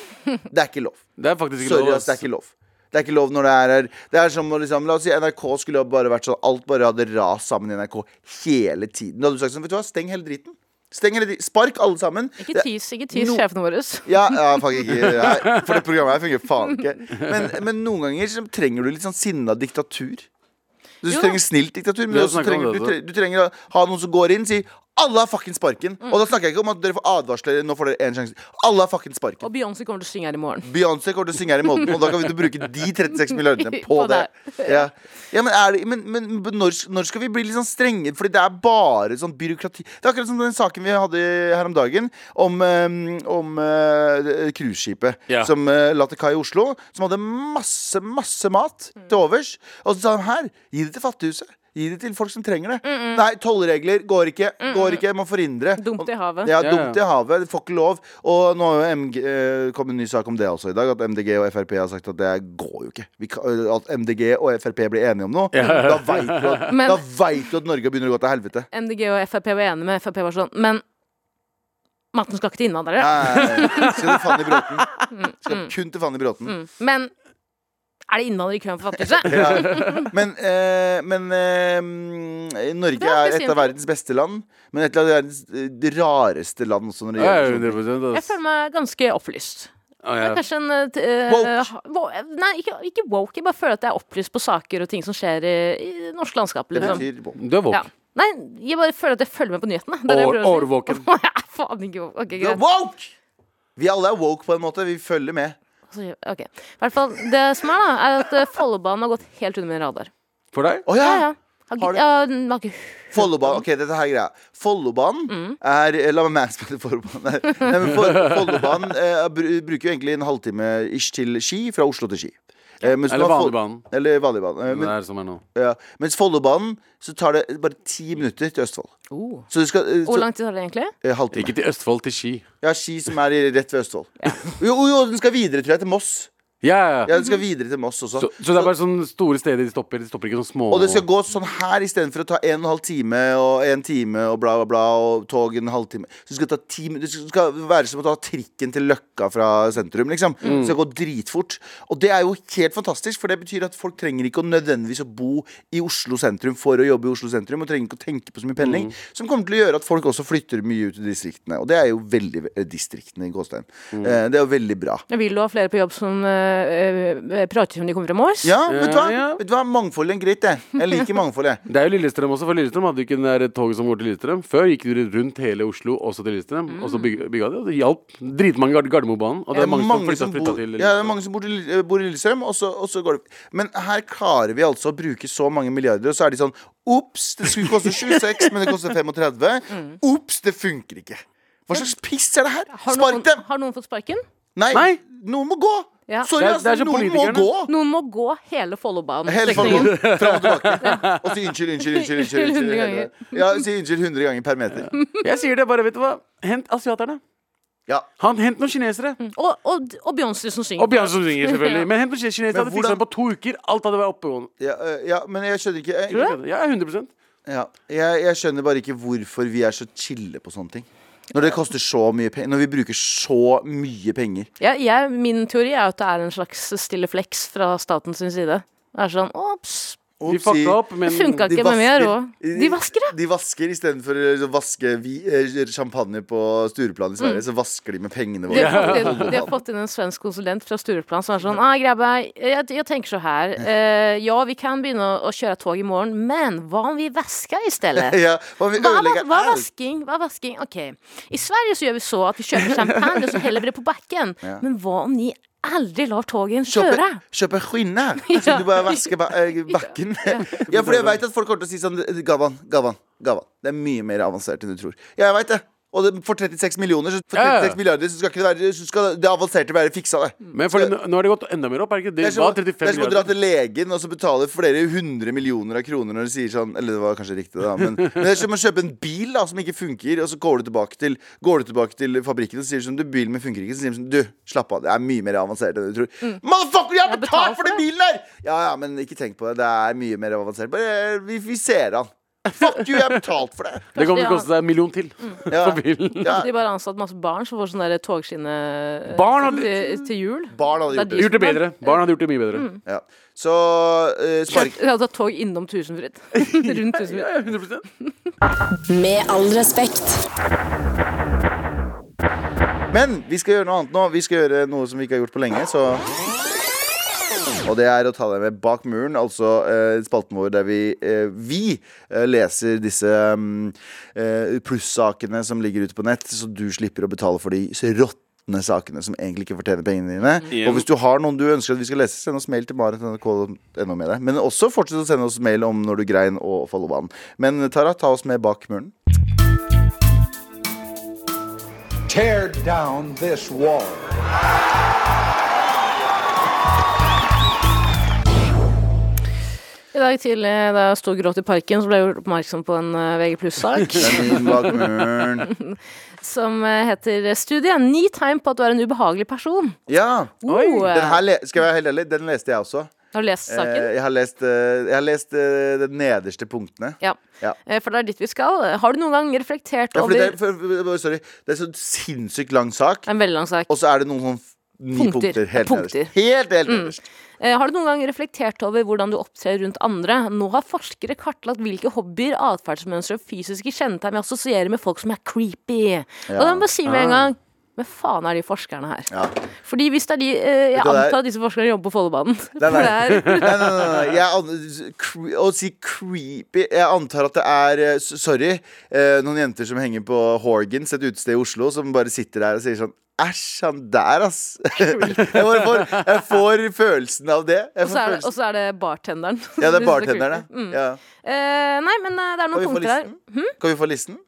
Speaker 3: Det er ikke lov.
Speaker 2: Det er faktisk ikke
Speaker 3: Sorry,
Speaker 2: lov.
Speaker 3: ass, det er
Speaker 2: ass.
Speaker 3: ikke lov. Det er ikke lov når det er her. Det er som å liksom, La oss si NRK skulle ha bare vært sånn alt bare hadde rast sammen i NRK hele tiden. Da hadde du sagt sånn, vet du hva, steng hele driten. Steng hele driten. Spark alle sammen.
Speaker 4: Ikke tis, ikke tis
Speaker 3: No.
Speaker 4: sjefene våre.
Speaker 3: Ja, ja faktisk ikke. Nei, For det programmet her fungerer faen ikke. Men, men noen ganger så trenger du litt sånn sinna diktatur. Du
Speaker 4: Jo da.
Speaker 3: trenger snilt diktatur, men
Speaker 2: Vi har
Speaker 3: også
Speaker 2: snakket om
Speaker 3: trenger,
Speaker 2: det
Speaker 3: du,
Speaker 2: også.
Speaker 3: tre, du trenger å ha noen som går inn og sier 'alle har fuckings sparken'.
Speaker 2: Mm.
Speaker 3: Og da snakker jeg ikke om at dere får advarsler. Nå får dere én sjanse. Alle har fuckings sparken.
Speaker 4: Og Beyoncé kommer til å synge her i morgen.
Speaker 3: Beyoncé kommer til å synge her i måneden, og da kan vi bruke de 36 milliardene på
Speaker 4: På
Speaker 3: det.
Speaker 4: det.
Speaker 3: Ja. Ja, men, er det, men, men når, når skal vi bli litt sånn strenge? Fordi det er bare sånn byråkrati Det er akkurat som den saken vi hadde her om dagen, om, eh, om eh, cruiseskipet
Speaker 2: Ja.
Speaker 3: som uh, la til kai i Oslo, som hadde masse, masse mat til overs. Og så sa han her, gi det til fattighuset. Gi det til folk som trenger det. Nei, tollregler går ikke. Går ikke, Man forhindrer.
Speaker 4: Dumt i havet.
Speaker 3: Ja,
Speaker 2: Ja, ja.
Speaker 3: dumt i havet. Det får ikke lov. Og nå har jo MG, eh, kom en ny sak om det også i dag, at MDG og Frp har sagt at det går jo ikke. Vi kan, eh, at MDG og Frp blir enige om noe, da veit du, at-
Speaker 4: Men-
Speaker 3: da vet du at Norge begynner å gå til helvete.
Speaker 4: MDG og Frp var enige med. Frp var sånn Men Maten skal ikke til innvandrere.
Speaker 3: Nei, Skal du faen i bråten? Skal
Speaker 4: Mm.
Speaker 3: kun til faen i bråten.
Speaker 4: Men er det innvandrere i køen for fattighuset?
Speaker 3: Ja. Men, eh, men eh, mm, Norge
Speaker 4: Det er
Speaker 3: er et av
Speaker 4: spesielt.
Speaker 3: verdens beste land, men et av verdens eh, det rareste land. Også når det
Speaker 2: Ja, ja,
Speaker 3: gjelder sånt.
Speaker 2: 100
Speaker 4: Jeg
Speaker 2: ass.
Speaker 4: føler meg ganske opplyst.
Speaker 2: Ja,
Speaker 4: Det
Speaker 2: ja.
Speaker 4: er kanskje en eh, t- eh,
Speaker 3: Woke.
Speaker 4: ha- wo- Nei, ikke, ikke woke. Jeg bare føler at jeg er opplyst på saker og ting som skjer i, i det norske
Speaker 3: sånn.
Speaker 4: landskapet.
Speaker 3: Det
Speaker 4: Liksom.
Speaker 3: betyr bom.
Speaker 2: Du er
Speaker 4: Ja.
Speaker 2: våken.
Speaker 4: Nei, jeg bare føler at jeg følger med på nyhetene. Det er det jeg
Speaker 2: År-
Speaker 4: prøver å si.
Speaker 2: årvåken.
Speaker 4: Jeg er faen ikke woke. Ok,
Speaker 3: Du er
Speaker 4: greit.
Speaker 3: woke! Vi alle er woke på en måte. Vi følger med.
Speaker 4: Altså, ok. I hvert fall, det som er, da, er at eh, Follobanen har gått helt under min radar.
Speaker 2: For deg?
Speaker 3: Å
Speaker 4: Ja,
Speaker 3: ja!
Speaker 4: ja.
Speaker 3: Har
Speaker 4: Har, ikke-
Speaker 3: du-
Speaker 4: ja, den har ikke
Speaker 3: Follobanen. Ok, dette her er greia. Follobanen er eh, La meg mansplaine Follobanen. Nei, Nei, men for, Follobanen eh, br bruker jo egentlig en halvtime ish til Ski, fra Oslo til Ski. Eh, mens
Speaker 2: Eller
Speaker 3: du har Fol-
Speaker 2: vanlig banen.
Speaker 3: Eller vanlig bane. Eh,
Speaker 2: Det
Speaker 3: men,
Speaker 2: er som er nå.
Speaker 3: ja. Mens Follobanen så tar det bare ti minutter til Østfold.
Speaker 4: oh.
Speaker 3: Så du skal eh,
Speaker 4: Hvor
Speaker 3: så,
Speaker 4: lang tid tar det egentlig?
Speaker 3: eh, halvtime.
Speaker 2: Ikke til Østfold, til Ski.
Speaker 3: Ja, Ski som er i- rett ved Østfold. Jo, jo, den skal videre, tror jeg, til Moss.
Speaker 2: Ja, ja, ja.
Speaker 3: Ja, den skal videre til Moss også.
Speaker 2: Så, så det er bare sånne store steder de stopper. De stopper ikke sånne små
Speaker 3: Og det skal gå sånn her istedenfor å ta en og en halv time og en time og bla, bla, bla, og tog en halvtime. Så det skal, ta ti, min- det skal være som å ta trikken til Løkka fra sentrum, liksom. Det skal gå dritfort. Og det er jo helt fantastisk, for det betyr at folk trenger ikke å nødvendigvis å bo i Oslo sentrum for å jobbe i Oslo sentrum, og trenger ikke å tenke på så mye pendling. Som kommer til å gjøre at folk også flytter mye ut i distriktene. Og det er jo veldig eh, Distriktene, i Gåstein. Eh, Det er jo veldig bra.
Speaker 4: Vil du ha flere på jobb som eh, eh, prater som de kommer fra Mors?
Speaker 3: Ja, vet du hva?
Speaker 2: ja.
Speaker 3: Vet du hva? Mangfold er greit, det. Jeg liker mangfold, jeg.
Speaker 2: Det er jo Lillestrøm også, for Lillestrøm hadde jo ikke den der toget som går til Lillestrøm. Før gikk de rundt hele Oslo, også til Lillestrøm.
Speaker 4: Mm.
Speaker 2: Og så bygga bygga de, og det hjalp dritmange Gard- Gardermobanen. Og det er mange, som flytta,
Speaker 3: bor,
Speaker 2: flytta
Speaker 3: ja,
Speaker 2: til
Speaker 3: det er
Speaker 2: Lillestrøm.
Speaker 3: mange som bor, til, eh, bor i Lillestrøm, og så, og så går det Men her klarer vi altså å bruke så mange milliarder, og så er de sånn Ops, det skulle koste 26, men det koster 35. Ops, det funker ikke. Hva slags piss er det her?
Speaker 4: Mm. Har
Speaker 3: Spark
Speaker 4: noen,
Speaker 3: dem!
Speaker 4: har noen fått sparken?
Speaker 3: Nei,
Speaker 2: Nei.
Speaker 3: noen må gå!
Speaker 4: Ja.
Speaker 3: Sorry,
Speaker 2: Det er-
Speaker 3: altså,
Speaker 2: det er så
Speaker 3: noen må gå!
Speaker 2: politikerne.
Speaker 4: Noen må gå hele
Speaker 3: Hele
Speaker 4: Follobanen-strekningen.
Speaker 3: familien. Fram og tilbake. Og si unnskyld, unnskyld, unnskyld. unnskyld,
Speaker 4: Hundre
Speaker 3: unnskyld
Speaker 4: ganger.
Speaker 3: Ja, si unnskyld 100 ganger per meter.
Speaker 2: Jeg sier det, bare, vet du hva. Hent asiaterne.
Speaker 3: Ja.
Speaker 2: Han, hent noen kinesere.
Speaker 4: Og, og, og Beyoncé som synger.
Speaker 2: Og Bjørn som synger, selvfølgelig. Men hent noen kinesere.
Speaker 3: Men
Speaker 2: Hadde
Speaker 3: hvordan-
Speaker 2: fiksa dem på to uker. Alt hadde vært oppegående.
Speaker 3: Ja, eh, ja, men jeg skjønner ikke
Speaker 2: Tror
Speaker 3: jeg,
Speaker 2: du det? Ja, 100
Speaker 3: ja, jeg, jeg skjønner bare ikke hvorfor vi er så chille på sånne ting. Når det koster så mye penger Når vi bruker så mye penger.
Speaker 4: Ja, jeg, min teori er at det er en slags stille flex fra staten sin side. Det er sånn Ops,
Speaker 2: De fucka opp, men
Speaker 4: det funka ikke, men vi har råd. De vasker, ja.
Speaker 3: De vasker istedenfor å vaske vi, eh, champagne på Stureplan i
Speaker 4: Mm.
Speaker 3: Sverige, så vasker de med pengene
Speaker 4: De
Speaker 3: våre.
Speaker 4: har, fått inn, de har fått inn en svensk konsulent fra Stureplan som er sånn ah, grabbar, jeg, jeg tenker så her eh, Ja, vi kan begynne å, å kjøre tog i morgen, men hva om vi vasker i stedet?
Speaker 3: Ja, hva om vi
Speaker 4: Hva, hva,
Speaker 3: ødelegger
Speaker 4: hva
Speaker 3: alt?
Speaker 4: er vasking? Hva er vasking? Ok. I Sverige så gjør vi så at vi kjøper champagne og så heller vi det på bakken. Men hva om ni aldri lar toget kjøre?
Speaker 3: Kjøpe, kjøpe skinner! Så du bare vasker ba eh, bakken. Ja, for jeg veit at folk kommer til å si sånn Gavan, Gavan, Gavan. Det er mye mer avansert enn du tror. Ja, jeg veit det. Og det, for 36 millioner så, for
Speaker 2: Ja, ja.
Speaker 3: 36 milliarder, så skal ikke det være Så skal det avanserte være fiksa, det.
Speaker 2: Men fordi nå nå har det gått enda mer opp. Er det ikke det?
Speaker 3: Det er som, å-
Speaker 2: Hva,
Speaker 3: det er som
Speaker 2: 35
Speaker 3: å dra
Speaker 2: milliarder?
Speaker 3: til legen og så betale flere hundre millioner av kroner når de sier sånn Eller det var kanskje riktig, da, men, men det er som å kjøpe en bil da som ikke funker, og så går du tilbake til, går du tilbake til fabrikken og sier sånn Du, bilen min funker ikke. Så sier de sånn Du, slapp av, det er mye mer avansert enn du tror. Motherfucker, Mm. jeg har betalt for den bilen der! Ja ja, men ikke tenk på det. Det er mye mer avansert. Bare vi, vi ser an. Fuck you, jeg har betalt for det.
Speaker 2: Det kommer til å
Speaker 4: Ja. Mm.
Speaker 2: koste deg en million til
Speaker 3: Ja.
Speaker 2: på bilen.
Speaker 3: Ja,
Speaker 4: De bare ansatt masse barn som får sånn der togskinne eh,
Speaker 2: Barn hadde-
Speaker 4: til, til jul.
Speaker 3: barn hadde gjort det.
Speaker 2: Gjort det bedre. Barn hadde gjort det mye bedre.
Speaker 4: Mm.
Speaker 3: Ja. Så eh, spark
Speaker 4: Jeg hadde tatt tog innom Tusenfryd. Rundt Tusenfryd.
Speaker 2: Ja, 100
Speaker 1: Med all respekt.
Speaker 3: Men vi skal gjøre noe annet nå. Vi skal gjøre noe som vi ikke har gjort på lenge. Så og det er å ta deg med bak muren, altså eh, spalten vår der vi, eh, vi eh, leser disse mm, eh, plussakene som ligger ute på nett, så du slipper å betale for de så råtne sakene som egentlig ikke fortjener pengene dine.
Speaker 2: Ja.
Speaker 3: Og hvis du har noen du ønsker at vi skal lese, send oss mail til marit.nrk.no med det. Men også fortsett å sende oss mail om når du grein og Follobanen. Men Tara, ta oss med bak muren.
Speaker 5: Tear down this wall.
Speaker 4: I dag tidlig da jeg sto og gråt i parken, så ble jeg gjort oppmerksom på en eh, VG pluss-sak
Speaker 3: Den bak muren.
Speaker 4: som eh, heter 'Studie ni tegn på at du er en ubehagelig person'.
Speaker 3: Ja.
Speaker 4: Oh, eh,
Speaker 3: Den her le skal jeg være helt ærlig, den leste jeg også.
Speaker 4: Har du lest
Speaker 3: Eh,
Speaker 4: saken?
Speaker 3: Jeg har lest, eh, jeg har lest eh, de nederste punktene.
Speaker 4: Ja.
Speaker 3: Ja.
Speaker 4: Eh, For det er dit vi skal. Har du noen gang reflektert
Speaker 3: Ja,
Speaker 4: over
Speaker 3: fordi det, er, for, for- sorry, det er så sinnssykt lang sak,
Speaker 4: Det er en veldig lang sak.
Speaker 3: og så er det noen sånn f- ni
Speaker 4: Punkter.
Speaker 3: punkter. helt
Speaker 4: Punkter.
Speaker 3: nederst. Helt, helt nederst.
Speaker 4: Eh, Har du noen gang reflektert over hvordan du opptrer rundt andre? Nå har forskere kartlagt hvilke hobbyer, atferdsmønstre og fysiske kjennetegn vi assosierer med folk som er creepy. Og da må jeg bare si med en gang hvem faen er de forskerne her?
Speaker 3: Ah. Ja.
Speaker 4: Fordi hvis det er de eh, Jeg
Speaker 3: Vet du hva det er?
Speaker 4: antar at disse forskerne jobber på Follobanen.
Speaker 3: Nei, nei.
Speaker 4: For det er-
Speaker 3: Nei, nei, nei, nei. Jeg an cre å si creepy Jeg antar at det er eh, s- Sorry, eh, noen jenter som henger på Horgans, et utested i Oslo, som bare sitter der og sier sånn Æsj, han der, ass. jeg, bare får, jeg får følelsen av det. Jeg
Speaker 4: Og
Speaker 3: får
Speaker 4: så er det, og
Speaker 3: følelsen.
Speaker 4: så er det bartenderen.
Speaker 3: Ja, det er bartenderne.
Speaker 4: Mm.
Speaker 3: Ja.
Speaker 4: Eh, nei, men eh, det er
Speaker 3: Kan
Speaker 4: noen
Speaker 3: vi få
Speaker 4: punkter her
Speaker 3: listen? Kan vi få listen?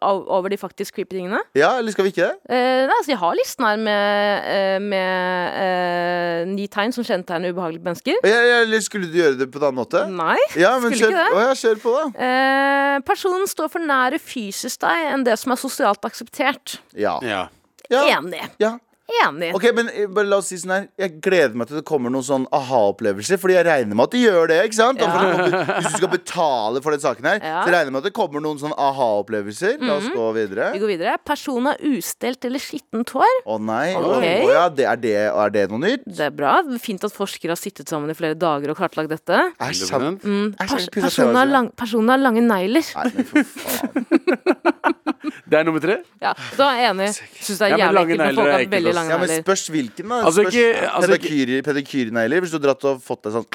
Speaker 4: av- over de faktisk creepy tingene.
Speaker 3: Ja, eller skal vi ikke det?
Speaker 4: Eh, nei, altså, jeg har listen her med, eh, med eh, ni tegn som kjennetegner ubehagelige mennesker.
Speaker 3: Ja, ja, eller skulle du gjøre det på en annen måte?
Speaker 4: Nei.
Speaker 3: Ja, men kjør,
Speaker 4: Skulle ikke det?
Speaker 3: Å, ja, kjør på, da.
Speaker 4: Eh, personen står for nære fysisk deg enn det som er sosialt akseptert.
Speaker 3: Ja.
Speaker 2: Ja.
Speaker 3: ja.
Speaker 4: Enig.
Speaker 3: ja.
Speaker 4: Enig.
Speaker 3: Ok, men eh, bare la oss si sånn her Jeg gleder meg til det kommer noen sånn aha-opplevelser Fordi jeg regner med at de gjør det, ikke sant? Og for det kommer- Hvis du skal betale for den saken her
Speaker 4: Ja. Mhm.
Speaker 3: Så regner jeg med at det kommer noen sånn aha-opplevelser La oss gå videre
Speaker 4: Vi går videre. Personen har ustelt eller skittent hår.
Speaker 3: Å nei,
Speaker 4: Ok.
Speaker 3: Å, ja, det er, det, er det noe nytt?
Speaker 4: Det er bra. Fint at forskere har sittet sammen i flere dager og kartlagt dette.
Speaker 3: Æsj, sant? Æsj,
Speaker 4: Pers
Speaker 3: jeg pisser på
Speaker 4: personen, har
Speaker 3: meg,
Speaker 4: lang personen har lange negler.
Speaker 3: Nei, men for faen
Speaker 2: Det er nummer tre.
Speaker 4: Ja, da er jeg enig. Syns det er
Speaker 2: Ja, men
Speaker 4: jævlig
Speaker 2: lange
Speaker 4: ekkelt når
Speaker 2: negler
Speaker 4: folk
Speaker 2: er
Speaker 4: har
Speaker 2: ekkelt,
Speaker 4: veldig
Speaker 2: ass.
Speaker 4: lange
Speaker 3: Ja, men
Speaker 4: negler.
Speaker 3: spørs hvilken da
Speaker 2: Altså,
Speaker 3: Spørs
Speaker 2: ikke- altså, ikke-
Speaker 3: pedikyrnegler Hvis du har dratt og fått deg sånn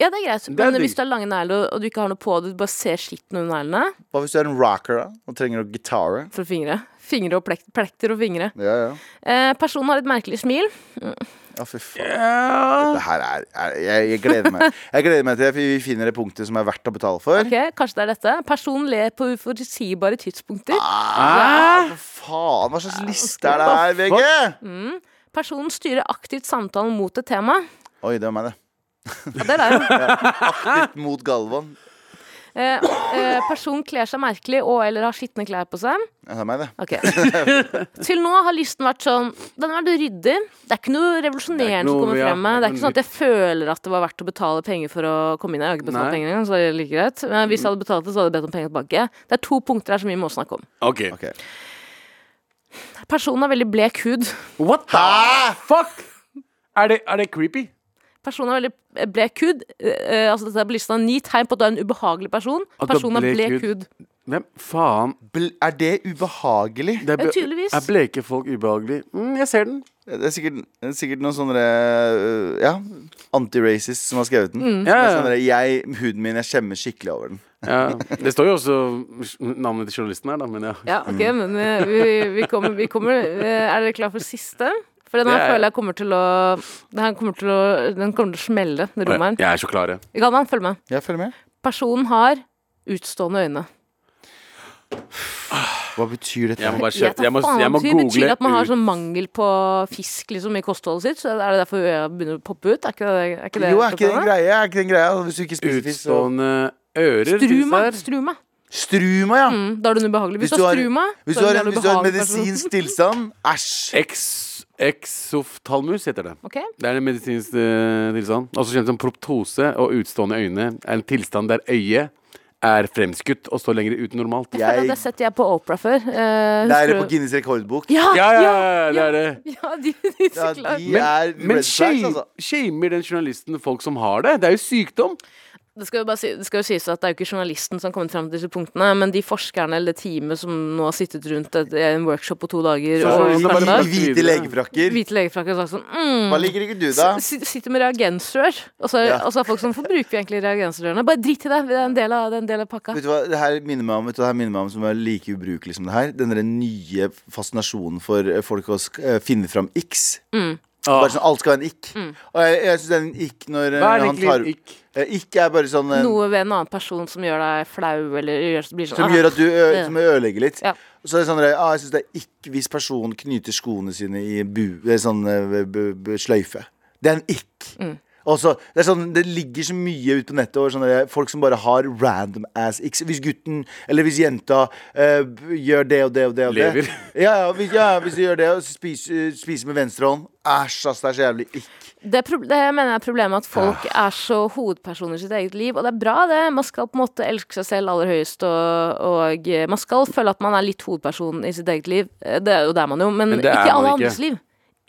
Speaker 4: Ja, det er greit.
Speaker 2: Det er
Speaker 4: Men
Speaker 2: digg.
Speaker 4: hvis du har lange negler og du ikke har noe på, og du bare ser skitten under neglene
Speaker 3: Hva hvis du er en rocker da? Og trenger å gitare
Speaker 4: fra fingre Fingre og plek plekter og fingre.
Speaker 3: Ja, ja
Speaker 4: Eh, personen har et merkelig smil.
Speaker 3: Ja, fy faen Det her er, er jeg, jeg gleder meg Jeg gleder meg til at vi finner det punktet som er verdt å betale for
Speaker 4: Ok, Kanskje det er dette. Personen ler på uforutsigbare tidspunkter.
Speaker 3: Ah, hva faen, hva slags liste er det her, VG?
Speaker 4: Personen styrer aktivt samtalen mot et tema.
Speaker 3: Oi, det var meg, det.
Speaker 4: Ja, det er det. jo.
Speaker 2: Ah.
Speaker 3: Litt mot Galvan.
Speaker 4: Eh, eh, personen kler seg merkelig og eller har skitne klær på seg.
Speaker 3: Ja, det er meg, det.
Speaker 4: Ok. Til nå har listen vært sånn Den har vært ryddig. Det er ikke noe
Speaker 2: Det er ikke
Speaker 4: revolusjonerende
Speaker 2: noe-
Speaker 4: som kommer
Speaker 2: ja,
Speaker 4: frem. med. Det er ikke sånn at
Speaker 2: noe
Speaker 4: jeg føler at det var verdt å betale penger for å komme inn. Jeg har ikke betalt
Speaker 2: Nei.
Speaker 4: penger engang, så det er like greit. Men hvis jeg hadde betalt det, så hadde jeg bedt om penger tilbake. Det er to punkter her som vi må snakke om.
Speaker 2: Ok.
Speaker 3: Ok.
Speaker 4: Personen har veldig blek hud.
Speaker 2: What the fuck? Er det, er det creepy?
Speaker 4: Personen har veldig blek hud. Eh, eh, altså dette er på listen av ni tegn på at du er en ubehagelig person.
Speaker 2: At du har
Speaker 4: Personen har
Speaker 2: blek
Speaker 4: blek
Speaker 2: hud.
Speaker 4: hud.
Speaker 2: Hvem faen?
Speaker 3: Bl- Er det ubehagelig?
Speaker 2: Det er,
Speaker 4: Ja, tydeligvis.
Speaker 2: er bleke folk ubehagelig? Mm, jeg ser den.
Speaker 3: Det er sikkert, det er sikkert noen sånne øh, Ja, antiracist som har skrevet den. Det
Speaker 2: Ja,
Speaker 3: er
Speaker 2: ja,
Speaker 3: Sånne, Sånn jeg, huden min, jeg skjemmer skikkelig over den.
Speaker 2: ja. Det står jo også navnet til journalisten her, da, men ja.
Speaker 4: Ja, ok, men eh, vi, vi kommer, vi kommer eh, Er dere klar for siste? For den her
Speaker 2: Ja, ja.
Speaker 4: føler jeg kommer til å Den her kommer til å, den kommer til å smelle, det rommet her.
Speaker 2: Jeg er så klar, jeg.
Speaker 4: Galvan, følg med.
Speaker 3: Jeg følger med.
Speaker 4: Personen har utstående øyne.
Speaker 3: Hva betyr dette?
Speaker 2: Jeg må bare
Speaker 4: Jeg
Speaker 2: kjøpe
Speaker 4: tar
Speaker 2: Jeg må,
Speaker 4: faen,
Speaker 2: jeg må
Speaker 4: det
Speaker 2: google
Speaker 4: betyr at man har
Speaker 2: ut-
Speaker 4: sånn mangel på fisk liksom, i kostholdet sitt. Så er det derfor øya begynner å poppe ut? Er ikke det, er ikke det
Speaker 3: jo, er ikke det en
Speaker 4: utstående?
Speaker 3: greie? Er ikke det en greie? Altså, Hvis du ikke spiser fisk, så
Speaker 2: utstående ører.
Speaker 4: Struma.
Speaker 2: finnes der.
Speaker 4: struma.
Speaker 3: Struma, ja!
Speaker 4: Mm, da er du en ubehagelig. Hvis, du har struma,
Speaker 3: hvis
Speaker 4: så
Speaker 3: du har
Speaker 4: er
Speaker 3: en,
Speaker 4: du en
Speaker 3: hvis du har en
Speaker 4: ubehagelig person.
Speaker 3: medisinsk tilstand Æsj!
Speaker 2: Ex, exoftalmus heter det.
Speaker 4: Ok.
Speaker 2: Det er en medisinsk eh, tilstand. Også kjent som proptose og utstående øyne. Er en tilstand der øyet er fremskutt og står lenger ut enn normalt.
Speaker 4: Jeg... føler at
Speaker 3: Jeg,
Speaker 4: Det setter jeg på Opera før. Eh,
Speaker 3: det er
Speaker 4: husker
Speaker 3: på
Speaker 4: du-
Speaker 3: Guinness rekordbok.
Speaker 4: ja,
Speaker 2: Ja, ja, ja, det er det.
Speaker 4: Ja, de, de, så
Speaker 3: Ja,
Speaker 4: klart.
Speaker 3: de er
Speaker 2: Men
Speaker 3: red flags,
Speaker 2: shame-
Speaker 3: altså.
Speaker 2: shamer den journalisten folk som har det? Det er jo sykdom.
Speaker 4: Det skal jo bare si, det skal jo sies at det er jo ikke journalisten som har kommet fram til disse punktene, men de forskerne eller det teamet som nå har sittet rundt et, en workshop på to dager
Speaker 2: Så
Speaker 3: sånn
Speaker 4: og
Speaker 2: journalisten
Speaker 4: snakket
Speaker 2: bare-
Speaker 4: om
Speaker 3: I
Speaker 4: det.
Speaker 3: hvite legefrakker.
Speaker 4: Hvite legefrakker har sagt sånn mm,
Speaker 3: Hva ligger ikke du, da?
Speaker 4: s- Sitter med reagensrør. Og så
Speaker 3: Ja.
Speaker 4: og så er folk sånn Hvorfor bruker vi egentlig reagensrørene? Bare drit i det. Det er en del av, det er en del av pakka.
Speaker 3: Vet du hva, det her minner meg om Vet du hva det her minner meg om som er like ubrukelig som det her? Den der nye fascinasjonen for eh, folk å sk- eh, finne fram x. Bare
Speaker 4: Mm.
Speaker 3: sånn, Alt skal være en ikk. Og jeg, jeg syns det er en ikk når eh,
Speaker 2: Ah, Hva er
Speaker 3: han tar
Speaker 2: egentlig ikk?
Speaker 3: Eh, Ikk er bare sånn eh,
Speaker 4: Noe ved en annen person som gjør deg flau, eller gjør, blir sånn
Speaker 3: som
Speaker 4: «Ah,
Speaker 3: gjør at du ø-
Speaker 4: det-
Speaker 3: som ødelegger litt.
Speaker 4: Ja.
Speaker 3: Så er det sånn, der, ah, jeg syns det er ikk hvis
Speaker 4: Mm.
Speaker 3: personen knyter skoene sine i bu, eh, sånn eh, b, b, sløyfe. Det er en ikk. Og så- det, er sånn, det ligger så mye ute på nettet over sånne der folk som bare har random ass ikke- Hvis gutten eller hvis jenta eh, gjør det og det og det og det
Speaker 2: Lever.
Speaker 3: Ja, ja, hvis, ja, hvis de gjør det og spiser, spiser med venstre hånd Æsj, ass, det er så jævlig ikk.
Speaker 4: Det, er prob- det mener jeg er problemet at folk er så hovedpersoner i sitt eget liv, og det er bra, det. Man skal på en måte elske seg selv aller høyest, og, og eh, man skal føle at man er litt hovedperson i sitt eget liv. Eh, Det er jo der man jo, men,
Speaker 2: Men det er
Speaker 4: ikke i alle
Speaker 2: man ikke.
Speaker 4: andres liv.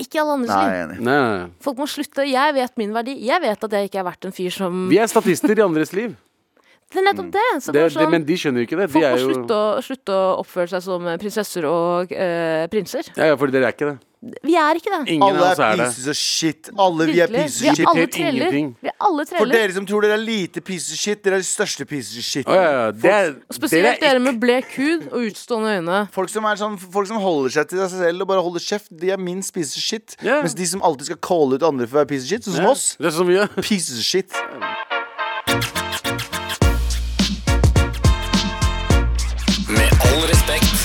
Speaker 4: Ikke i alle andres
Speaker 3: Nei, jeg
Speaker 4: liv.
Speaker 3: er enig.
Speaker 2: Nei, nei, nei.
Speaker 4: Folk må slutte. Jeg vet min verdi. Jeg vet at jeg ikke er verdt en fyr som
Speaker 2: Vi er statister i andres liv.
Speaker 4: Det er nettopp det! Så
Speaker 2: Det,
Speaker 4: bare
Speaker 2: det,
Speaker 4: sånn,
Speaker 2: men de skjønner jo ikke det. De
Speaker 4: folk må
Speaker 2: er jo
Speaker 4: slutte, å, slutte å oppføre seg som prinsesser og eh, prinser.
Speaker 2: ja, ja, fordi dere er ikke det.
Speaker 4: Vi er ikke det.
Speaker 2: Ingen
Speaker 3: Alle
Speaker 2: av
Speaker 3: er
Speaker 2: oss er det.
Speaker 3: pieces of shit. Alle vi er
Speaker 4: Virkelig.
Speaker 3: pieces
Speaker 4: Vi
Speaker 3: of
Speaker 4: er
Speaker 3: shit.
Speaker 4: alle
Speaker 2: Diskuterer
Speaker 4: treller.
Speaker 2: ingenting.
Speaker 4: Vi er alle
Speaker 3: For
Speaker 4: treller.
Speaker 3: dere som tror dere er lite pieces of shit, dere er de største pieces of shit.
Speaker 2: Å, ja, ja. Det er,
Speaker 4: Spesielt
Speaker 2: dere er
Speaker 4: dere med blek hud og utstående øyne.
Speaker 3: Folk som, er sånn, folk som holder seg til seg selv og bare holder kjeft, de er minst pieces of shit.
Speaker 2: Ja.
Speaker 3: Mens de som alltid skal calle ut andre for å være pieces of shit, sånn som oss,
Speaker 2: Det er så mye.
Speaker 3: pieces of shit.
Speaker 6: Med all respekt.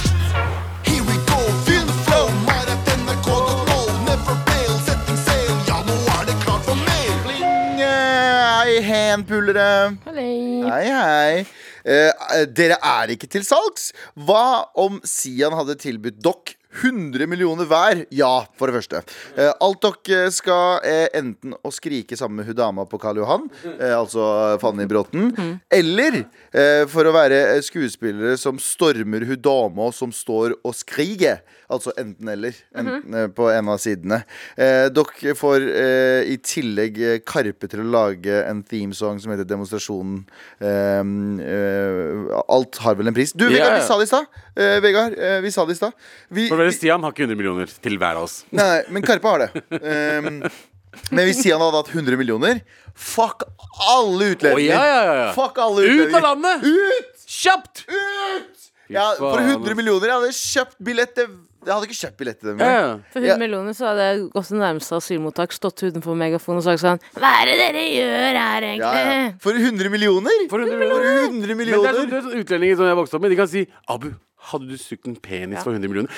Speaker 7: Here we go, feel the flow. Mer enn NRK.no. Never fail, setting sail. Ja, nå er det klart for mer.
Speaker 3: Yeah, Hei, henpulere. Hei, hei. Eh, dere er ikke til salgs. Hva om Sian hadde tilbudt dere 100 millioner hver? Ja, for det første. Eh, alt dere skal eh, enten å skrike sammen med hun dama på Karl Johan, eh, altså eh, Fanny Bråten, eller eh, for å være eh, skuespillere som stormer hun dama som står og skriker. Altså enten-eller enten, eh, på en av sidene. Eh, dere får eh, i tillegg eh, Karpe til å lage en themesong som heter Demonstrasjonen. Eh, eh, alt har vel en pris. Du,
Speaker 2: Ja,
Speaker 3: Vegard,
Speaker 2: ja.
Speaker 3: vi sa det i stad. Eh, Vegard, eh, vi sa det i stad. Vi-
Speaker 2: For å være Stian har ikke 100 millioner til hver av oss.
Speaker 3: Nei, men Karpe har det. Um, men hvis Sian hadde hatt 100 millioner Fuck alle
Speaker 2: Å,
Speaker 3: utlendinger!
Speaker 2: ja, ja, ja, ja.
Speaker 3: Fuck alle
Speaker 2: Ut
Speaker 3: utlendinger.
Speaker 2: av landet!
Speaker 3: Ut!
Speaker 2: Kjapt!
Speaker 3: Ut! Ja,
Speaker 2: Fy
Speaker 3: for
Speaker 2: faen,
Speaker 3: 100
Speaker 2: ass.
Speaker 3: millioner Jeg hadde kjøpt billett til Jeg hadde ikke kjøpt billett til dem.
Speaker 2: Ja,
Speaker 3: jeg.
Speaker 2: ja.
Speaker 4: For
Speaker 3: Ja.
Speaker 4: 100 millioner så hadde jeg gått til nærmeste asylmottak, stått utenfor megafon og sagt sånn Hva er det dere gjør her,
Speaker 3: Ja,
Speaker 4: egentlig?
Speaker 3: ja. For 100 millioner?
Speaker 2: For 100
Speaker 3: For
Speaker 2: millioner.
Speaker 3: 100
Speaker 2: Men det er sånn,
Speaker 3: millioner.
Speaker 2: det er sånn utlendinger som jeg vokste opp med, de kan si Abu, hadde du sugd en penis for 100 millioner?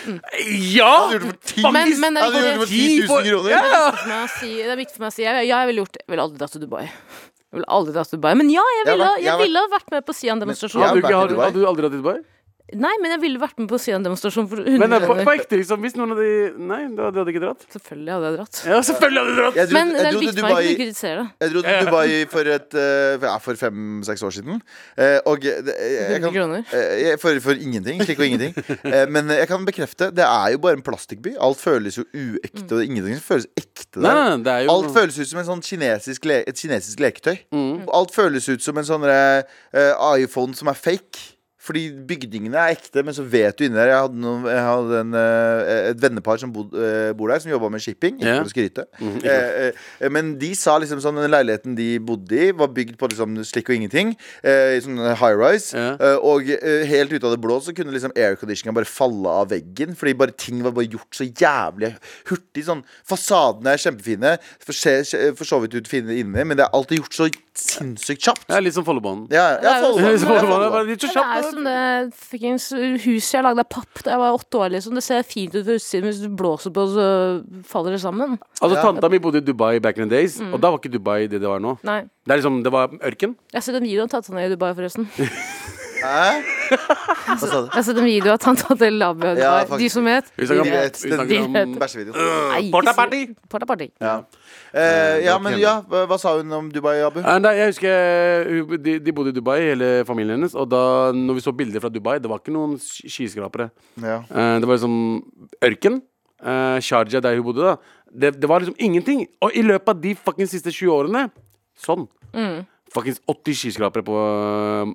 Speaker 3: Jeg Mm. hadde
Speaker 2: Ja!
Speaker 3: gjort det for 10
Speaker 4: Men- men det
Speaker 3: jeg hadde
Speaker 4: går
Speaker 3: gjort det for
Speaker 2: ti
Speaker 3: 10 000
Speaker 2: for-
Speaker 3: kroner.
Speaker 2: Ja, ja.
Speaker 4: Men jeg si, det er viktig for meg å si Jeg, jeg ville gjort Jeg ville aldri dratt til Dubai. Jeg ville aldri dratt til Dubai Men ja, jeg
Speaker 3: Jeg har
Speaker 4: ville,
Speaker 3: vært- jeg har
Speaker 4: jeg
Speaker 3: vært-
Speaker 4: ville ha vært med på
Speaker 3: Men-
Speaker 2: Hadde du,
Speaker 4: Sian-demonstrasjonen.
Speaker 3: vært i
Speaker 2: ikke, hadde,
Speaker 3: Dubai.
Speaker 2: hadde du aldri dratt til Dubai?
Speaker 4: Nei, men jeg ville vært med på Sian-demonstrasjonen for
Speaker 2: Men
Speaker 4: 100
Speaker 2: eh, på, på
Speaker 4: millioner.
Speaker 2: ekte, liksom. Hvis noen av de Nei, du hadde, hadde ikke dratt.
Speaker 4: Selvfølgelig hadde jeg dratt.
Speaker 2: Ja, selvfølgelig hadde du dratt!
Speaker 3: Jeg dro,
Speaker 4: Men det
Speaker 3: jeg
Speaker 4: er
Speaker 3: dro til
Speaker 4: viktig for meg ikke å
Speaker 3: Dubai
Speaker 4: kritisere det.
Speaker 3: Jeg dro til Dubai for, et, eh, ja, for fem-seks år siden. Eh, og det, jeg, jeg
Speaker 4: 100
Speaker 3: kan,
Speaker 4: kroner.
Speaker 3: eh, jeg- for, for ingenting. Slik og ingenting. Eh, men jeg kan bekrefte, det er jo bare en plastikkby. Alt føles jo uekte, og det er ingenting som føles ekte der.
Speaker 2: Nei, nei, det er jo
Speaker 3: Alt føles ut som en sånn kinesisk le et kinesisk leketøy.
Speaker 2: Mm.
Speaker 3: Alt føles ut som en sånn eh, eh, iPhone som er fake. Fordi bygningene er ekte, men så vet du inni der Jeg hadde, noen, jeg hadde en, eh, et vennepar som bod, eh, bor der, som jobba med shipping. Ikke
Speaker 2: Ja. Mm,
Speaker 3: for å skryte. Eh, eh, men de sa liksom sånn den leiligheten de bodde i, var bygd på liksom slikk og ingenting. eh, I sånn high rise.
Speaker 2: Ja.
Speaker 3: Eh, og eh, helt ut av det blå så kunne liksom airconditioningen bare falle av veggen. Fordi bare ting var bare gjort så jævlig hurtig. Sånn, Fasadene er kjempefine, for, se, se- for så vidt ut fine inni, men det er alltid gjort så sinnssykt kjapt.
Speaker 2: Det er litt som Follobanen.
Speaker 3: Ja, ja,
Speaker 4: Det er jo
Speaker 3: Follobanen,
Speaker 4: sånn-
Speaker 2: Follobanen er
Speaker 3: Follobanen.
Speaker 2: bare litt så
Speaker 4: Ja, Det er
Speaker 2: kjapt.
Speaker 4: jo som det fuckings huset jeg lagde av papp da jeg var åtte år. liksom Det ser fint ut fra utsiden, men hvis du blåser på, så faller det sammen.
Speaker 2: Altså,
Speaker 3: Ja.
Speaker 2: Tanta mi bodde i Dubai back in the days, og da var ikke Dubai det det var nå.
Speaker 4: Mm. Nei.
Speaker 2: Det er liksom, det var ørken.
Speaker 4: Jeg har sett en video av tanta ned i Dubai, forresten. Jeg
Speaker 3: Hæ? Hva sa du?
Speaker 4: har sett en video av tanta til Labia i Dubai.
Speaker 3: Ja, faktisk.
Speaker 4: De som vet.
Speaker 2: Vi snakker om-
Speaker 3: vet,
Speaker 2: vi
Speaker 3: den-
Speaker 2: snakker om-
Speaker 4: de vet.
Speaker 3: Bæsjevideoen.
Speaker 4: Nei,
Speaker 2: Porta
Speaker 4: ikke-
Speaker 2: party!
Speaker 4: Porta party.
Speaker 3: Ja. Eh, ja,
Speaker 2: det var
Speaker 3: men
Speaker 2: ikke
Speaker 3: ja, hva, hva sa hun om Dubai, Abu?
Speaker 2: Eh, Nei, nei, jeg husker eh, hun- de, de bodde i Dubai, hele familien hennes. Og da når vi så bilder fra Dubai, det var ikke noen sk- skyskrapere.
Speaker 3: Ja.
Speaker 2: Eh, det var liksom ørken. eh, Sharjah, der hun bodde, da. Det, det var liksom ingenting. Og i løpet av de fuckings siste 20 årene Sånn.
Speaker 3: Mm.
Speaker 2: Fuckings 80 skyskrapere på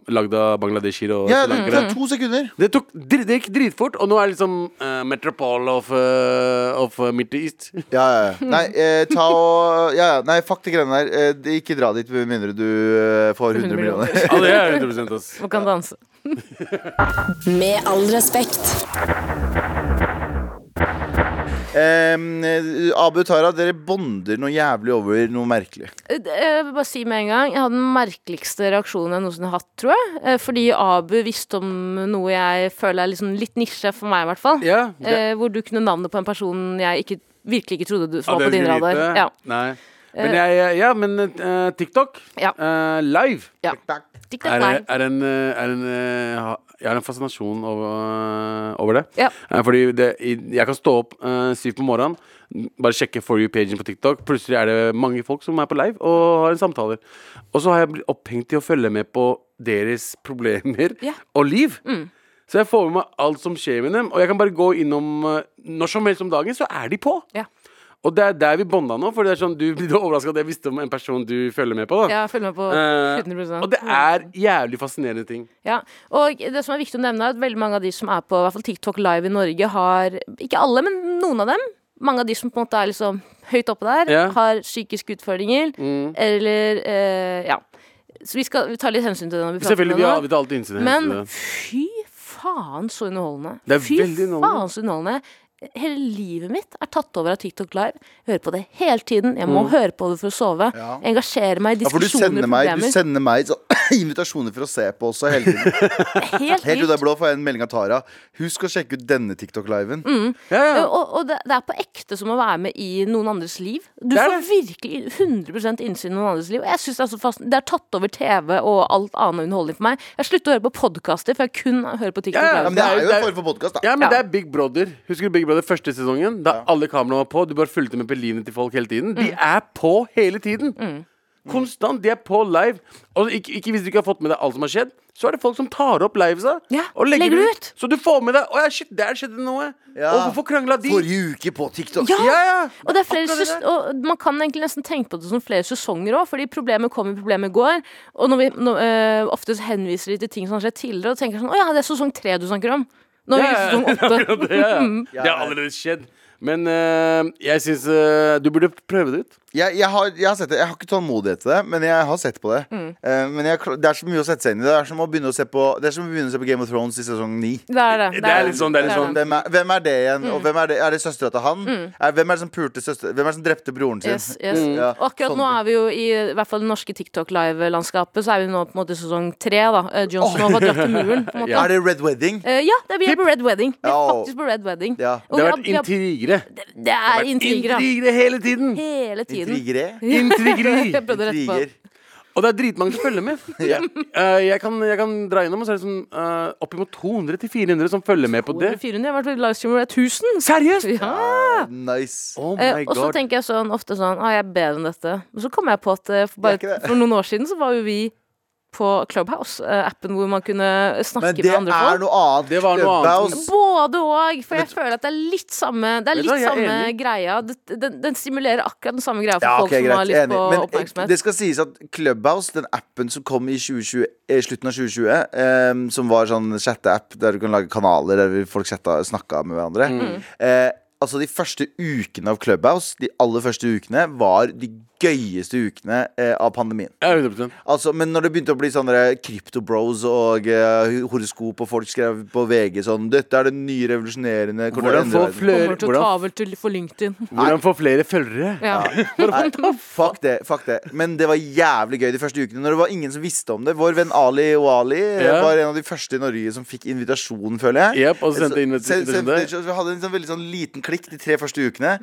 Speaker 2: eh, lagd av bangladeshir og
Speaker 3: Ja,
Speaker 2: Sri
Speaker 3: det
Speaker 2: Lankere.
Speaker 3: tok to sekunder.
Speaker 2: Det, tok, dri- det gikk dritfort, og nå er det liksom eh, Metropole of, eh, of eh, Middle East.
Speaker 3: Ja, ja, ja. Nei, eh, ta og ja, ja. Nei, fuck de greiene der. Eh, de- ikke dra dit med mindre du eh, får 100 millioner.
Speaker 2: Ja, det er 100 ass.
Speaker 4: Og kan danse.
Speaker 1: Med all respekt.
Speaker 3: Em, eh, Abu og Tara, dere bonder noe jævlig over noe merkelig.
Speaker 4: Eh, Jeg vil bare si med en gang Jeg hadde den merkeligste reaksjonen jeg noensinne har hatt, tror jeg. Eh, Fordi Abu visste om noe jeg føler er liksom litt nisje for meg, i hvert fall.
Speaker 2: Ja, det-
Speaker 4: Eh, Hvor du kunne navnet på en person jeg ikke, virkelig ikke trodde du
Speaker 2: Ja,
Speaker 4: var på
Speaker 2: dere
Speaker 4: din
Speaker 2: skulle
Speaker 4: radar.
Speaker 2: vite.
Speaker 4: Ja.
Speaker 2: Nei. Men jeg, jeg- ja, men eh, TikTok
Speaker 4: Ja.
Speaker 2: eh, live
Speaker 4: Ja. TikTok
Speaker 2: er,
Speaker 4: live.
Speaker 2: er en, eh, er en eh, ha- Jeg har en fascinasjon over, eh, over det.
Speaker 4: Ja.
Speaker 2: Eh, Fordi det, i- jeg kan stå opp eh, syv på morgenen, bare sjekke for you-pagen på TikTok. Plutselig er det mange folk som er på live og har en samtaler. Og så har jeg blitt opphengt i å følge med på deres problemer
Speaker 4: Ja. Mm.
Speaker 2: og liv. Så jeg får med meg alt som skjer med dem. Og jeg kan bare gå innom eh, når som helst om dagen, så er de på.
Speaker 4: Ja.
Speaker 2: Og det er der vi bonda nå, for det er sånn, du blir overraska at jeg visste om en person du følger med på. da
Speaker 4: Ja, følg med på
Speaker 2: Eh,
Speaker 4: 100
Speaker 2: og det er jævlig fascinerende ting.
Speaker 4: Ja, og det som er viktig å nevne er at veldig mange av de som er på i hvert fall TikTok live i Norge har, ikke alle, men noen av dem, mange av de som på en måte er liksom høyt oppe der,
Speaker 2: Ja. Mm.
Speaker 4: har psykiske utfordringer, eller, eh, ja. Så vi skal vi tar litt hensyn til det når vi prater
Speaker 2: Selvfølgelig,
Speaker 4: om
Speaker 2: vi
Speaker 4: det
Speaker 2: har,
Speaker 4: nå.
Speaker 2: vi tar alltid innsiden.
Speaker 4: Men fy faen så underholdende.
Speaker 2: Det er
Speaker 4: fy
Speaker 2: veldig underholdende.
Speaker 4: faen så underholdende. Hele livet mitt er tatt over av TikTok Live. Jeg hører på det hele tiden. Jeg må
Speaker 2: Mm.
Speaker 4: høre på det for å sove.
Speaker 3: Ja.
Speaker 4: Jeg engasjerer meg i
Speaker 3: Ja, for du
Speaker 4: diskusjoner
Speaker 3: sender
Speaker 4: og
Speaker 3: meg, du
Speaker 4: problemer.
Speaker 3: sender meg så, invitasjoner for å se på også hele tiden.
Speaker 4: Helt
Speaker 3: Helt ut
Speaker 4: vilt.
Speaker 3: av blå får jeg en melding av Tara. Husk å sjekke ut denne TikTok-liven.
Speaker 2: ja, ja.
Speaker 4: Eh, Og, og det, det er på ekte som å være med i noen andres liv. Du
Speaker 2: Det er
Speaker 4: får virkelig 100 innsyn i noen andres liv. Og jeg synes Det er så fast, Det er tatt over TV og alt annet underholdning for meg. Jeg slutter å høre på podkaster, for jeg kun hører på
Speaker 2: Ja,
Speaker 4: TikTok.
Speaker 2: ja,
Speaker 3: Ja,
Speaker 4: Live.
Speaker 3: men det er jo
Speaker 2: det er-
Speaker 3: en form for podkast, da.
Speaker 2: ja, men
Speaker 4: Ja.
Speaker 2: det er Big Brother. Husker du Big Brother første sesongen? Da alle kameraene var på. Du bare fulgte med på livene til folk hele tiden.
Speaker 4: Mm.
Speaker 2: De er på hele tiden! Konstant. De er på live. Og ikke, ikke Hvis du ikke har fått med deg alt som har skjedd, så er det folk som tar opp livesa
Speaker 4: Ja,
Speaker 2: og legger,
Speaker 4: legger
Speaker 2: det
Speaker 4: det
Speaker 2: ut. Så du får med deg Å ja, shit, der skjedde det noe.
Speaker 3: Ja.
Speaker 2: Og hvorfor krangla de?
Speaker 3: Forrige uke på TikTok.
Speaker 4: Ja!
Speaker 2: Ja, ja.
Speaker 4: Og, det er flere
Speaker 2: Akkurat det
Speaker 4: ses-
Speaker 2: der.
Speaker 4: og man kan egentlig nesten tenke på det som flere sesonger òg, fordi problemet kommer, problemet går. Og når vi når, eh, ofte så henviser de til ting som har skjedd tidligere, og tenker sånn Å ja, det er sesong tre du snakker om. Nå er vi i
Speaker 2: Ja,
Speaker 4: sesong
Speaker 2: ja.
Speaker 4: åtte.
Speaker 2: Det, ja, ja.
Speaker 4: Mm.
Speaker 2: det har allerede skjedd. Men eh, jeg syns eh, du burde prøve det ut.
Speaker 3: Jeg, jeg, har, jeg har sett det, jeg har ikke tålmodighet til det, men jeg har sett på det. Eh, men jeg, klar- det er så mye å sette seg inn i. Det er som å begynne å se på, det er som å begynne å se på Game of Thrones i sesong ni.
Speaker 4: Det er Mm. det.
Speaker 2: Det er litt sånn, det er litt sånn.
Speaker 3: Hvem er, hvem er det igjen? Og hvem er det, er det søstera til han? Er, hvem er det som pulte søster Hvem er det som drepte broren sin? Mm.
Speaker 4: Yes, yes.
Speaker 3: Ja, sånn.
Speaker 4: Og akkurat nå er vi jo i, i hvert fall det norske TikTok Live-landskapet, så er vi nå på en måte i sesong tre, da. Eh, Jon Snow har dratt til muren, på en måte.
Speaker 3: Er det Red Wedding?
Speaker 4: Eh, ja, det er, vi er på Red Wedding. Vi er
Speaker 3: Ja, og-
Speaker 4: faktisk på Red Wedding.
Speaker 3: Ja.
Speaker 4: Og
Speaker 2: Det
Speaker 4: vi
Speaker 2: har vært
Speaker 4: vi
Speaker 2: intrigere.
Speaker 4: det er intriger, ja.
Speaker 2: Intrigere hele tiden!
Speaker 4: Hele tiden.
Speaker 3: Intrigre?
Speaker 2: Intrigeri!
Speaker 4: Jeg prøvde å rette på.
Speaker 3: Intriger.
Speaker 2: Og det er dritmange som følger med. Eh, jeg, kan, jeg kan dra innom, og så er det sånn eh, oppimot 200-400 som følger med på det.
Speaker 4: 400, jeg har vært på livestream hvor det er 1000.
Speaker 2: Seriøst?!
Speaker 4: Ja.
Speaker 3: Ah, Nice.
Speaker 2: Oh
Speaker 4: Eh,
Speaker 2: my
Speaker 4: og så
Speaker 2: god.
Speaker 4: tenker jeg sånn, ofte sånn ah, jeg er bedre enn dette. Men så kommer jeg på at eh, for,
Speaker 3: Det er
Speaker 4: bare,
Speaker 3: ikke det.
Speaker 4: for noen år siden så var jo vi på Clubhouse-appen hvor man kunne snakke
Speaker 3: Men det
Speaker 4: med andre folk.
Speaker 3: er noe annet.
Speaker 2: Det var noe
Speaker 3: Clubhouse.
Speaker 2: annet.
Speaker 4: Både òg, for jeg føler at det er litt samme Det er
Speaker 2: Vet du
Speaker 4: litt
Speaker 2: hva, jeg er
Speaker 4: samme
Speaker 2: enig.
Speaker 4: greia. Det- Den, den stimulerer akkurat den samme greia for
Speaker 3: Ja,
Speaker 4: folk
Speaker 3: ok,
Speaker 4: som har
Speaker 3: greit.
Speaker 4: lyst
Speaker 3: Enig.
Speaker 4: på
Speaker 3: Men eh,
Speaker 2: eh,
Speaker 4: oppmerksomhet.
Speaker 3: det skal sies at Clubhouse, den appen som kom i 2020, eh, slutten av 2020, eh, som var sånn chatteapp der du kan lage kanaler der folk chatta, snakka med hverandre
Speaker 4: Mm.
Speaker 3: eh, Altså De første ukene av Clubhouse De aller første ukene var de gøyeste ukene eh, av pandemien.
Speaker 2: Ja, 100
Speaker 3: Altså, men når det begynte å bli sånne der krypto-bros og eh, horoskop, og folk skrev på VG sånn 'Dette er det nye revolusjonerende kommer til å
Speaker 2: Hvordan
Speaker 3: endre
Speaker 2: få,
Speaker 3: verden».
Speaker 2: flere,
Speaker 4: Kommer til å ta
Speaker 2: hvordan,
Speaker 4: over til for LinkedIn.
Speaker 2: hvordan få flere følgere?
Speaker 4: Ja.
Speaker 3: Nei, fuck det, fuck det. Men det var jævlig gøy de første ukene. Når det var ingen som visste om det. Vår venn Ali Oali eh,
Speaker 2: Ja.
Speaker 3: var en av de første i Norge som fikk invitasjon, føler jeg.
Speaker 2: Jep, og så sendte inn et-
Speaker 3: Se-
Speaker 2: et- et-
Speaker 3: sendte- Vi hadde en sånn veldig sånn liten klikk de tre første ukene.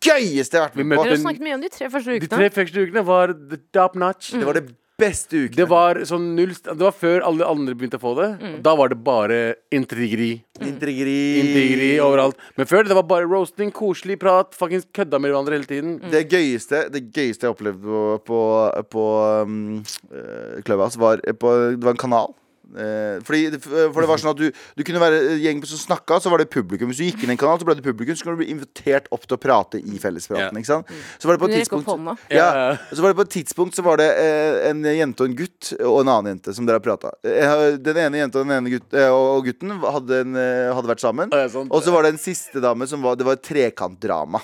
Speaker 3: Gøyeste jeg har vært
Speaker 2: Vi
Speaker 3: med
Speaker 2: møtte
Speaker 4: Dere
Speaker 3: på.
Speaker 2: en-
Speaker 4: har snakket mye om de tre første
Speaker 2: De
Speaker 4: ukene.
Speaker 2: tre første ukene var the top
Speaker 4: Mm.
Speaker 2: notch.
Speaker 3: Det var det beste ukene.
Speaker 2: Det var sånn null st- Det var før alle andre begynte å få det.
Speaker 4: Mm.
Speaker 2: Da var det bare intrigeri.
Speaker 3: Intrigri.
Speaker 2: Intrigeri overalt. Men før det var bare roasting, koselig prat, fuckings kødda med hverandre hele tiden.
Speaker 4: Mm.
Speaker 3: Det gøyeste, det gøyeste jeg opplevde på, på, på um, eh, Clubhouse, var på, det var en kanal. Eh, fordi, det- for det var sånn at du, du kunne være gjeng som snakka, så var det publikum. Hvis du gikk inn i en kanal, så ble det publikum, så kunne du bli invitert opp til å prate i fellespraten.
Speaker 2: Ja. Mm.
Speaker 3: Ikke sant? Så var det på et
Speaker 4: Kunne rekke opp hånda.
Speaker 3: tidspunkt
Speaker 2: Ja, ja.
Speaker 3: ja, Så var det på et tidspunkt Så var det eh, en jente og en gutt og en annen jente som dere har prata. Den ene jenta og den ene gutt, eh, og gutten hadde, en, eh, hadde vært sammen.
Speaker 2: Ja, sant.
Speaker 3: Og så var det en siste dame som var Det var et trekantdrama.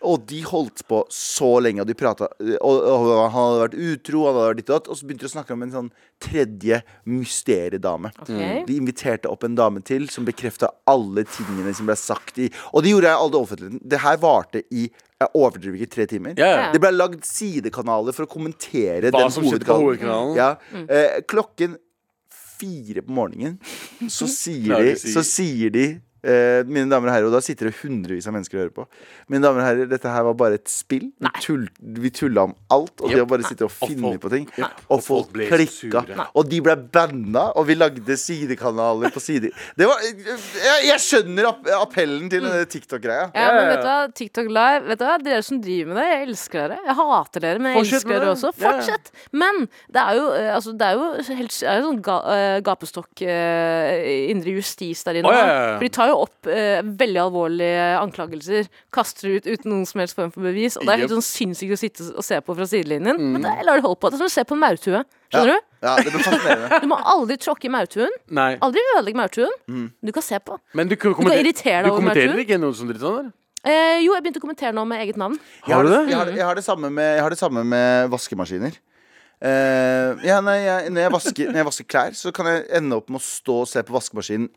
Speaker 3: Og de holdt på så lenge, og de prata og, og han hadde vært utro, han hadde vært ditt og datt, og så begynte de å snakke om en sånn tredje mysteriedame. Mm.
Speaker 4: Ok.
Speaker 3: De inviterte opp en dame til som bekrefta alle tingene som ble sagt i Og det gjorde jeg i all det offentligheten. Det her varte i jeg overdriver ikke tre timer.
Speaker 2: Ja, ja.
Speaker 3: Det ble lagd sidekanaler for å kommentere
Speaker 2: Hva
Speaker 3: den
Speaker 2: som skjedde på hovedkanalen.
Speaker 3: Ja.
Speaker 2: Mm.
Speaker 3: Eh, klokken fire på morgenen så sier
Speaker 2: Klarer
Speaker 3: de,
Speaker 2: å si.
Speaker 3: så sier de Eh, mine damer og herrer, og da sitter det hundrevis av mennesker og hører på. Mine damer og herrer, dette her var bare et spill. Vi tull- Vi tulla om alt, og det å bare sitte og
Speaker 2: Og
Speaker 3: finne
Speaker 2: folk-
Speaker 3: på ting.
Speaker 2: Nei.
Speaker 3: Og
Speaker 2: Og
Speaker 3: folk
Speaker 2: folk ble
Speaker 3: klikka.
Speaker 2: sure. Nei.
Speaker 3: Og de ble banna, og vi lagde sidekanaler på sider. Det var Jeg, jeg skjønner app appellen
Speaker 2: Mm.
Speaker 3: til denne TikTok-greia.
Speaker 4: Ja, men vet du hva, TikTok Live, vet du hva, dere som driver med det, jeg elsker dere. Jeg hater dere, men jeg
Speaker 2: Fortsett
Speaker 4: elsker
Speaker 2: med
Speaker 4: dere
Speaker 2: det.
Speaker 4: også.
Speaker 2: Ja, ja.
Speaker 4: Fortsett! Men det er jo, eh, altså, det er jo helt, det er jo sånn ga, eh, gapestokk, eh, indre justis der
Speaker 2: Å,
Speaker 4: inne.
Speaker 2: ja,
Speaker 4: da.
Speaker 2: ja, ja.
Speaker 4: For de tar jo opp eh, veldig alvorlige anklagelser, kaster det ut uten noen som helst form for bevis, og det er helt
Speaker 2: Yep.
Speaker 4: sånn sinnssykt å sitte og se på fra sidelinjen.
Speaker 2: Mm.
Speaker 4: Men det, jeg lar det holde på. Det er som å se på en maurtue. Skjønner du?
Speaker 3: Ja, det ble fascinerende.
Speaker 4: Du må aldri tråkke i maurtuen.
Speaker 2: Nei.
Speaker 4: Aldri ødelegge maurtuen.
Speaker 2: Mm.
Speaker 4: Du kan se på.
Speaker 2: Men du, kommenter-
Speaker 4: irritere deg
Speaker 2: du
Speaker 4: over
Speaker 2: kommenterer
Speaker 4: Mertur?
Speaker 2: ikke noe som dritt sånn?
Speaker 4: Eh, jo, jeg begynte å kommentere nå med eget navn.
Speaker 2: der? Har du det?
Speaker 3: Jeg har, jeg, har det samme med, jeg har det samme med vaskemaskiner. Eh, ja, nei, jeg, når, jeg vasker, når jeg vasker klær, så kan jeg ende opp med å stå og se på vaskemaskinen.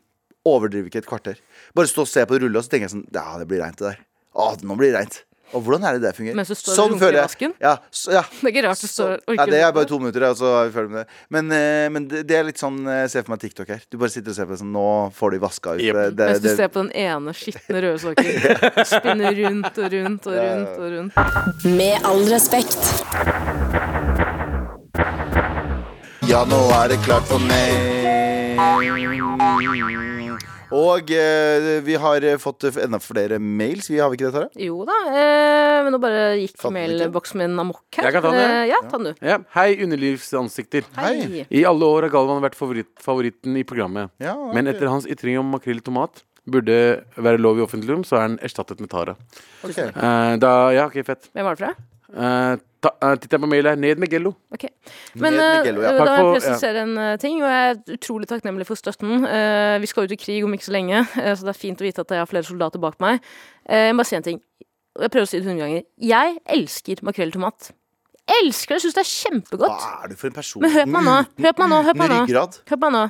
Speaker 3: Overdriver ikke et kvarter. Bare stå og se på det rulle, og så tenker jeg sånn Ja, det blir reint, det der. Å, nå blir det reint. Og hvordan er det det fungerer?
Speaker 4: Mens du står og
Speaker 3: sånn
Speaker 4: runker i
Speaker 3: føler jeg.
Speaker 4: vasken?
Speaker 3: Ja, så, ja.
Speaker 4: Det er ikke rart du
Speaker 3: Så,
Speaker 4: står og
Speaker 3: ja,
Speaker 4: ikke
Speaker 3: det er bare to minutter, og så er vi ferdig med det. Men, eh, men det, det er litt sånn eh, Se for meg TikTok her. Du bare sitter og ser på det sånn Nå får de vaska ut.
Speaker 2: Jep.
Speaker 3: Det, det, Eh,
Speaker 4: Mens du
Speaker 3: det,
Speaker 4: ser på den ene skitne røde sokken spinne rundt og rundt og rundt. og rundt
Speaker 1: Med all respekt.
Speaker 3: Ja, nå er det klart for meg. Og eh, vi har eh, fått eh, enda flere mails. Vi har vi ikke det, Tara?
Speaker 4: Jo da, eh, men nå bare gikk
Speaker 3: Fant den ikke?
Speaker 4: mailboksen min amok her.
Speaker 2: Jeg kan ta den, jeg.
Speaker 4: Eh, ja, ta den du.
Speaker 2: Ja. Hei, underlivsansikter.
Speaker 3: Hei.
Speaker 2: I alle år har Galvan vært favoritt, favoritten i programmet.
Speaker 3: Ja, ok.
Speaker 2: Men etter hans ytring om makrell i tomat burde være lov i offentligdom, så er den erstattet med Tara.
Speaker 3: Ok.
Speaker 2: Eh, da, ja, ok, fett.
Speaker 4: Hvem var det fra?
Speaker 2: Uh, ta, eh, Tittelen på mail er 'Ned med Gello'.
Speaker 4: Ok. Men
Speaker 3: Ned med
Speaker 4: eh,
Speaker 3: Gello, ja.
Speaker 4: da
Speaker 2: Takk
Speaker 4: må jeg
Speaker 2: for- ja.
Speaker 4: presisere en eh, ting, og jeg er utrolig takknemlig for støtten. Eh, vi skal ut i krig om ikke så lenge, eh, så det er fint å vite at jeg har flere soldater bak meg. Eh, jeg må bare si en ting. og Jeg prøver å si det hundre ganger. Jeg elsker makrell i tomat. Elsker det! Syns det er
Speaker 3: Hva
Speaker 4: kjempegodt.
Speaker 3: er du for en person?
Speaker 4: Men hør på meg nå.
Speaker 3: Uten-
Speaker 4: Hør på meg nå. Hør på
Speaker 3: uten
Speaker 4: meg nå.
Speaker 3: ryggrad.
Speaker 4: Hør på meg nå.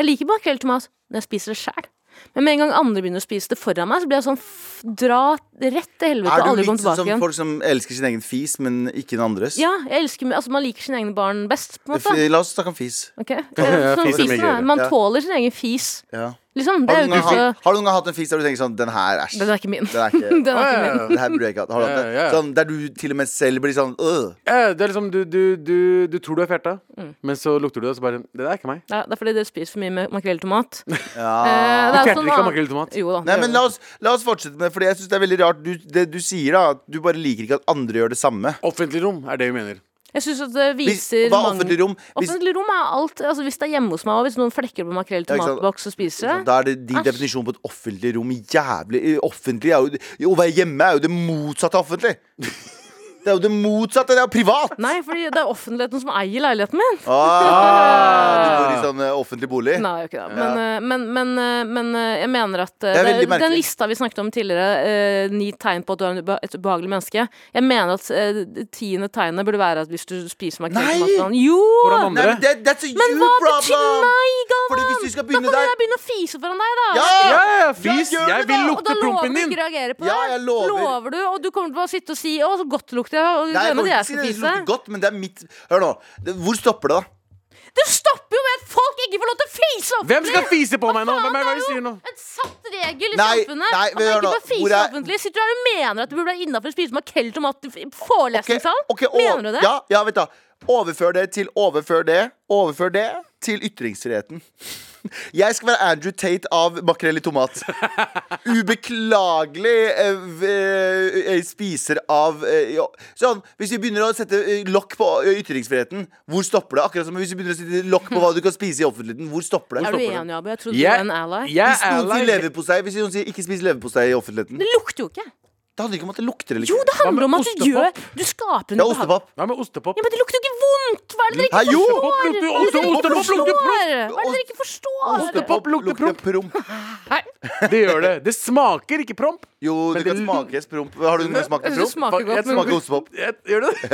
Speaker 4: Jeg liker makrell i tomat når jeg spiser det sjøl. Men med en gang andre begynner å spise det foran meg, så blir jeg sånn f dra rett til helvete og
Speaker 3: Er du
Speaker 4: aldri komme
Speaker 3: litt sånn
Speaker 4: tilbake
Speaker 3: som
Speaker 4: igjen.
Speaker 3: folk som elsker sin egen fis, men ikke den andres?
Speaker 4: Ja, jeg elsker Altså, man liker sine egne barn best, på en
Speaker 3: F-
Speaker 4: måte.
Speaker 3: La oss snakke om fis.
Speaker 4: Ok? Eh, Sånn
Speaker 2: Fis er
Speaker 4: fisen,
Speaker 2: mye
Speaker 4: da.
Speaker 2: gøyere.
Speaker 4: Man
Speaker 3: Ja.
Speaker 4: tåler sin egen fis,
Speaker 3: Ja.
Speaker 4: liksom. Det
Speaker 3: Har,
Speaker 4: er
Speaker 3: du
Speaker 4: jo
Speaker 3: noen gang,
Speaker 4: ikke så
Speaker 3: hatt- har du noen gang hatt en fis der du tenker sånn Den her, æsj.
Speaker 4: Den er ikke min.
Speaker 3: Den er ikke-
Speaker 4: Den er
Speaker 2: Eh,
Speaker 4: ikke min.
Speaker 3: Det her burde jeg ikke hatt. Har du hatt
Speaker 2: Ja, ja,
Speaker 3: det?
Speaker 2: ja.
Speaker 3: Sånn, der du til og med selv blir sånn øh.
Speaker 2: Eh, det er liksom du, du, du, du tror du er fjerta,
Speaker 4: Mm.
Speaker 2: men så lukter du det, og så bare Det der er ikke meg.
Speaker 4: Ja, det er fordi dere spiser for mye med makrell i tomat. Eh,
Speaker 3: Ja.
Speaker 4: det er
Speaker 2: Du fjerter
Speaker 4: sånn
Speaker 2: ikke av
Speaker 4: at-
Speaker 2: makrell i tomat.
Speaker 4: Jo da.
Speaker 3: Nei,
Speaker 4: det
Speaker 3: men
Speaker 4: gjør
Speaker 3: la
Speaker 4: det.
Speaker 3: oss, la oss fortsette med det, Fordi jeg synes det er veldig rart du, Det du sier da, at du bare liker ikke at andre gjør det samme
Speaker 2: Offentlig rom er det vi mener.
Speaker 4: Jeg syns at det
Speaker 3: Hvis,
Speaker 4: viser
Speaker 3: Hva
Speaker 4: mange-
Speaker 3: offentlig rom? Hvis,
Speaker 4: Offentlig rom er alt. Altså, hvis det er hjemme hos meg, og hvis noen flekker på makrell i
Speaker 3: Ja, ikke sant.
Speaker 4: tomatboks og spiser det
Speaker 3: da er det din
Speaker 4: Æsj.
Speaker 3: definisjon på et offentlig rom Jævlig eh, Offentlig er jo, jo, Å være hjemme er jo det motsatte av offentlig Det er jo det motsatte, det er jo privat
Speaker 4: Nei, fordi det er offentligheten som eier leiligheten min.
Speaker 3: ah, Du bor i sånn eh, offentlig bolig
Speaker 4: Nei, jeg gjør ikke det. Men, eh, men, men, eh, men eh, jeg mener at eh,
Speaker 3: Det er
Speaker 4: det
Speaker 3: veldig merkelig.
Speaker 4: den lista vi snakket om tidligere, eh, ni tegn på at du er en ube- et ubehagelig menneske Jeg mener at eh, det tiende tegnet burde være at hvis du spiser makrell i
Speaker 3: Nei!
Speaker 4: tomatboks Jo!
Speaker 2: Foran
Speaker 3: Nei,
Speaker 2: andre.
Speaker 3: men det, that's a
Speaker 4: Men
Speaker 3: you
Speaker 4: hva betyr
Speaker 3: problem
Speaker 4: nei, Galvan?
Speaker 3: Fordi hvis vi skal
Speaker 4: Da
Speaker 3: begynne
Speaker 4: kan
Speaker 3: der
Speaker 4: jeg begynne å fise foran deg, da.
Speaker 3: Ja!
Speaker 2: Ja, ja, ja, fis!
Speaker 3: Ja, gjør
Speaker 2: Jeg
Speaker 3: det da,
Speaker 2: vil
Speaker 4: Og da
Speaker 2: lukte
Speaker 4: lover
Speaker 2: prompen
Speaker 4: du
Speaker 2: din!
Speaker 4: ikke å reagere på det.
Speaker 3: Ja, jeg lover.
Speaker 4: lover du, og du kommer til å bare sitte og si 'Å, så godt lukter jeg', og
Speaker 3: Nei, jeg
Speaker 4: glemme
Speaker 3: kommer
Speaker 4: det
Speaker 3: ikke
Speaker 4: jeg
Speaker 3: til å si
Speaker 4: skal
Speaker 3: det, det
Speaker 4: spise.
Speaker 3: lukter godt, men det er mitt Hør nå, det- hvor stopper det da?
Speaker 4: Det stopper jo med at folk ikke får lov til å fise offentlig!
Speaker 2: Hvem skal fise på meg nå?
Speaker 4: Faen,
Speaker 2: Hvem er det du
Speaker 4: jo
Speaker 2: sier nå?
Speaker 4: En satt regel i
Speaker 3: Nei,
Speaker 4: samfunnet
Speaker 3: nei,
Speaker 4: at
Speaker 3: men
Speaker 4: man
Speaker 3: hør
Speaker 4: ikke
Speaker 3: nå.
Speaker 4: får fise
Speaker 3: Hvor er-
Speaker 4: offentlig. Sitter du her og mener at du burde være innafor å spise makrell i tomat i forelesningssal?
Speaker 3: Ok, ok, og-
Speaker 4: mener du det?
Speaker 3: Ja, ja, vet du. Overfør det til overfør det, overfør det til ytringsfriheten. Jeg skal være Andrew Tate av makrell i tomat. Ubeklagelig eh, v- eh, spiser av eh, ja. Sånn, Hvis vi begynner å sette eh, lokk på eh, ytringsfriheten, hvor stopper det? Akkurat som hvis vi begynner å sette lokk på hva du kan spise i offentligheten, hvor stopper
Speaker 4: Er
Speaker 3: det?
Speaker 4: du enig, Abu? Jeg trodde
Speaker 2: Jeg-
Speaker 4: du var en ally.
Speaker 2: jeg
Speaker 3: Hvis
Speaker 2: er
Speaker 3: noen sier
Speaker 2: ally.
Speaker 3: leverpostei, hvis noen sier ikke spis leverpostei i offentligheten,
Speaker 4: Det lukter jo ikke.
Speaker 3: det handler ikke om at det lukter eller
Speaker 4: Jo,
Speaker 3: ikke.
Speaker 4: det handler om
Speaker 2: med
Speaker 4: at du
Speaker 2: ostepop?
Speaker 4: gjør Du skaper en
Speaker 3: Det er
Speaker 4: ubehag-
Speaker 3: ostepop.
Speaker 2: Hva med ostepop?
Speaker 4: Ja, men det lukter jo ikke vondt! Hva er det dere
Speaker 3: Hæ,
Speaker 4: ikke
Speaker 3: jo!
Speaker 4: forstår?
Speaker 2: Ostepop lukter-
Speaker 4: Hva er det dere
Speaker 2: ostepop lukter
Speaker 4: ikke
Speaker 2: promp.
Speaker 4: forstår? Hva er det dere ikke forstår?
Speaker 2: Ostepop lukter promp.
Speaker 3: promp.
Speaker 4: Nei,
Speaker 2: Det gjør det. Det smaker ikke promp.
Speaker 3: Jo,
Speaker 2: Men
Speaker 3: du kan
Speaker 2: det-
Speaker 3: smake promp. Har du noen smakt
Speaker 4: Jeg
Speaker 3: promp?
Speaker 4: synes det smaker godt.
Speaker 2: Jeg tror-
Speaker 3: Smaker ostepop.
Speaker 2: Jeg- Gjør det det?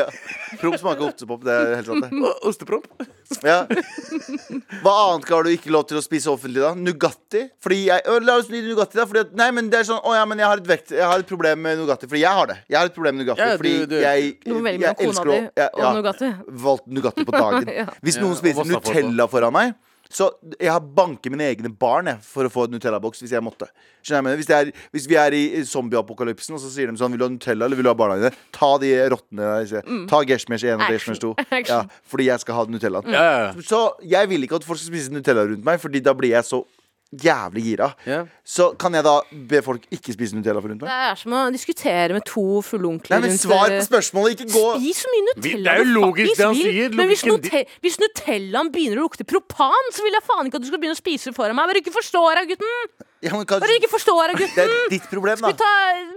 Speaker 3: Promp smaker ostepop. Det er helt sant, det.
Speaker 2: O- Ostepromp?
Speaker 3: Ja. Hva annet har du ikke lov til å spise offentlig, da? Nugatti? Fordi jeg, Å, La oss bli Nugatti, da. Fordi at, nei, men det er sånn Å ja, men jeg har et, vekt, jeg har et problem med Nugatti. Fordi jeg har det. Jeg har et problem med Nugatti.
Speaker 2: Ja, du-
Speaker 3: fordi
Speaker 2: du-
Speaker 3: jeg,
Speaker 4: Du må velge
Speaker 3: jeg
Speaker 4: mellom kona
Speaker 3: elsker å-
Speaker 4: di
Speaker 3: ja,
Speaker 4: og
Speaker 3: ja.
Speaker 4: Nugatti.
Speaker 3: Valgt Nugatti på dagen.
Speaker 4: Ja.
Speaker 3: Hvis noen
Speaker 2: og
Speaker 3: spiser
Speaker 2: Vassa får på.
Speaker 3: Nutella foran meg Så jeg har banket mine egne barn jeg, for å få et Nutella-boks hvis jeg måtte. Skjønner jeg hva jeg mener? Hvis, det er, hvis vi er i zombieapokalypsen, og så sier de sånn Vil du ha Nutella eller vil du ha barna dine? Ta de rottene der. sier jeg. Ta Geshmesh 1 og
Speaker 4: Mm. Action.
Speaker 3: Geshmesh 2.
Speaker 4: Action.
Speaker 3: Ja, fordi jeg skal ha Nutellaen.
Speaker 2: Ja, ja, ja.
Speaker 3: Så jeg vil ikke at folk skal spise Nutella rundt meg, Fordi da blir jeg så jævlig gira.
Speaker 2: Ja.
Speaker 3: Så kan jeg da be folk ikke spise Nutella rundt
Speaker 4: Det
Speaker 3: meg?
Speaker 4: er som å diskutere med to fulle onkler eh,
Speaker 3: Nei, men svar på spørsmålet! Ikke gå
Speaker 4: Spis så mye Nutella
Speaker 2: Vi- det er jo
Speaker 4: du
Speaker 2: logisk
Speaker 4: faktisk
Speaker 2: det han
Speaker 4: vil,
Speaker 2: sier,
Speaker 4: Men hvis,
Speaker 2: logikken di-
Speaker 4: Nute- hvis Nutellaen begynner å lukte propan, så vil jeg faen ikke at du skal begynne å spise det foran meg. Hva er det du ikke forstår, da, gutten?
Speaker 3: ja, men
Speaker 4: Hva er det du
Speaker 3: kanskje,
Speaker 4: ikke forstår, da,
Speaker 3: Det er
Speaker 4: gutten?
Speaker 3: ditt problem,
Speaker 4: Skal
Speaker 3: da.
Speaker 4: vi ta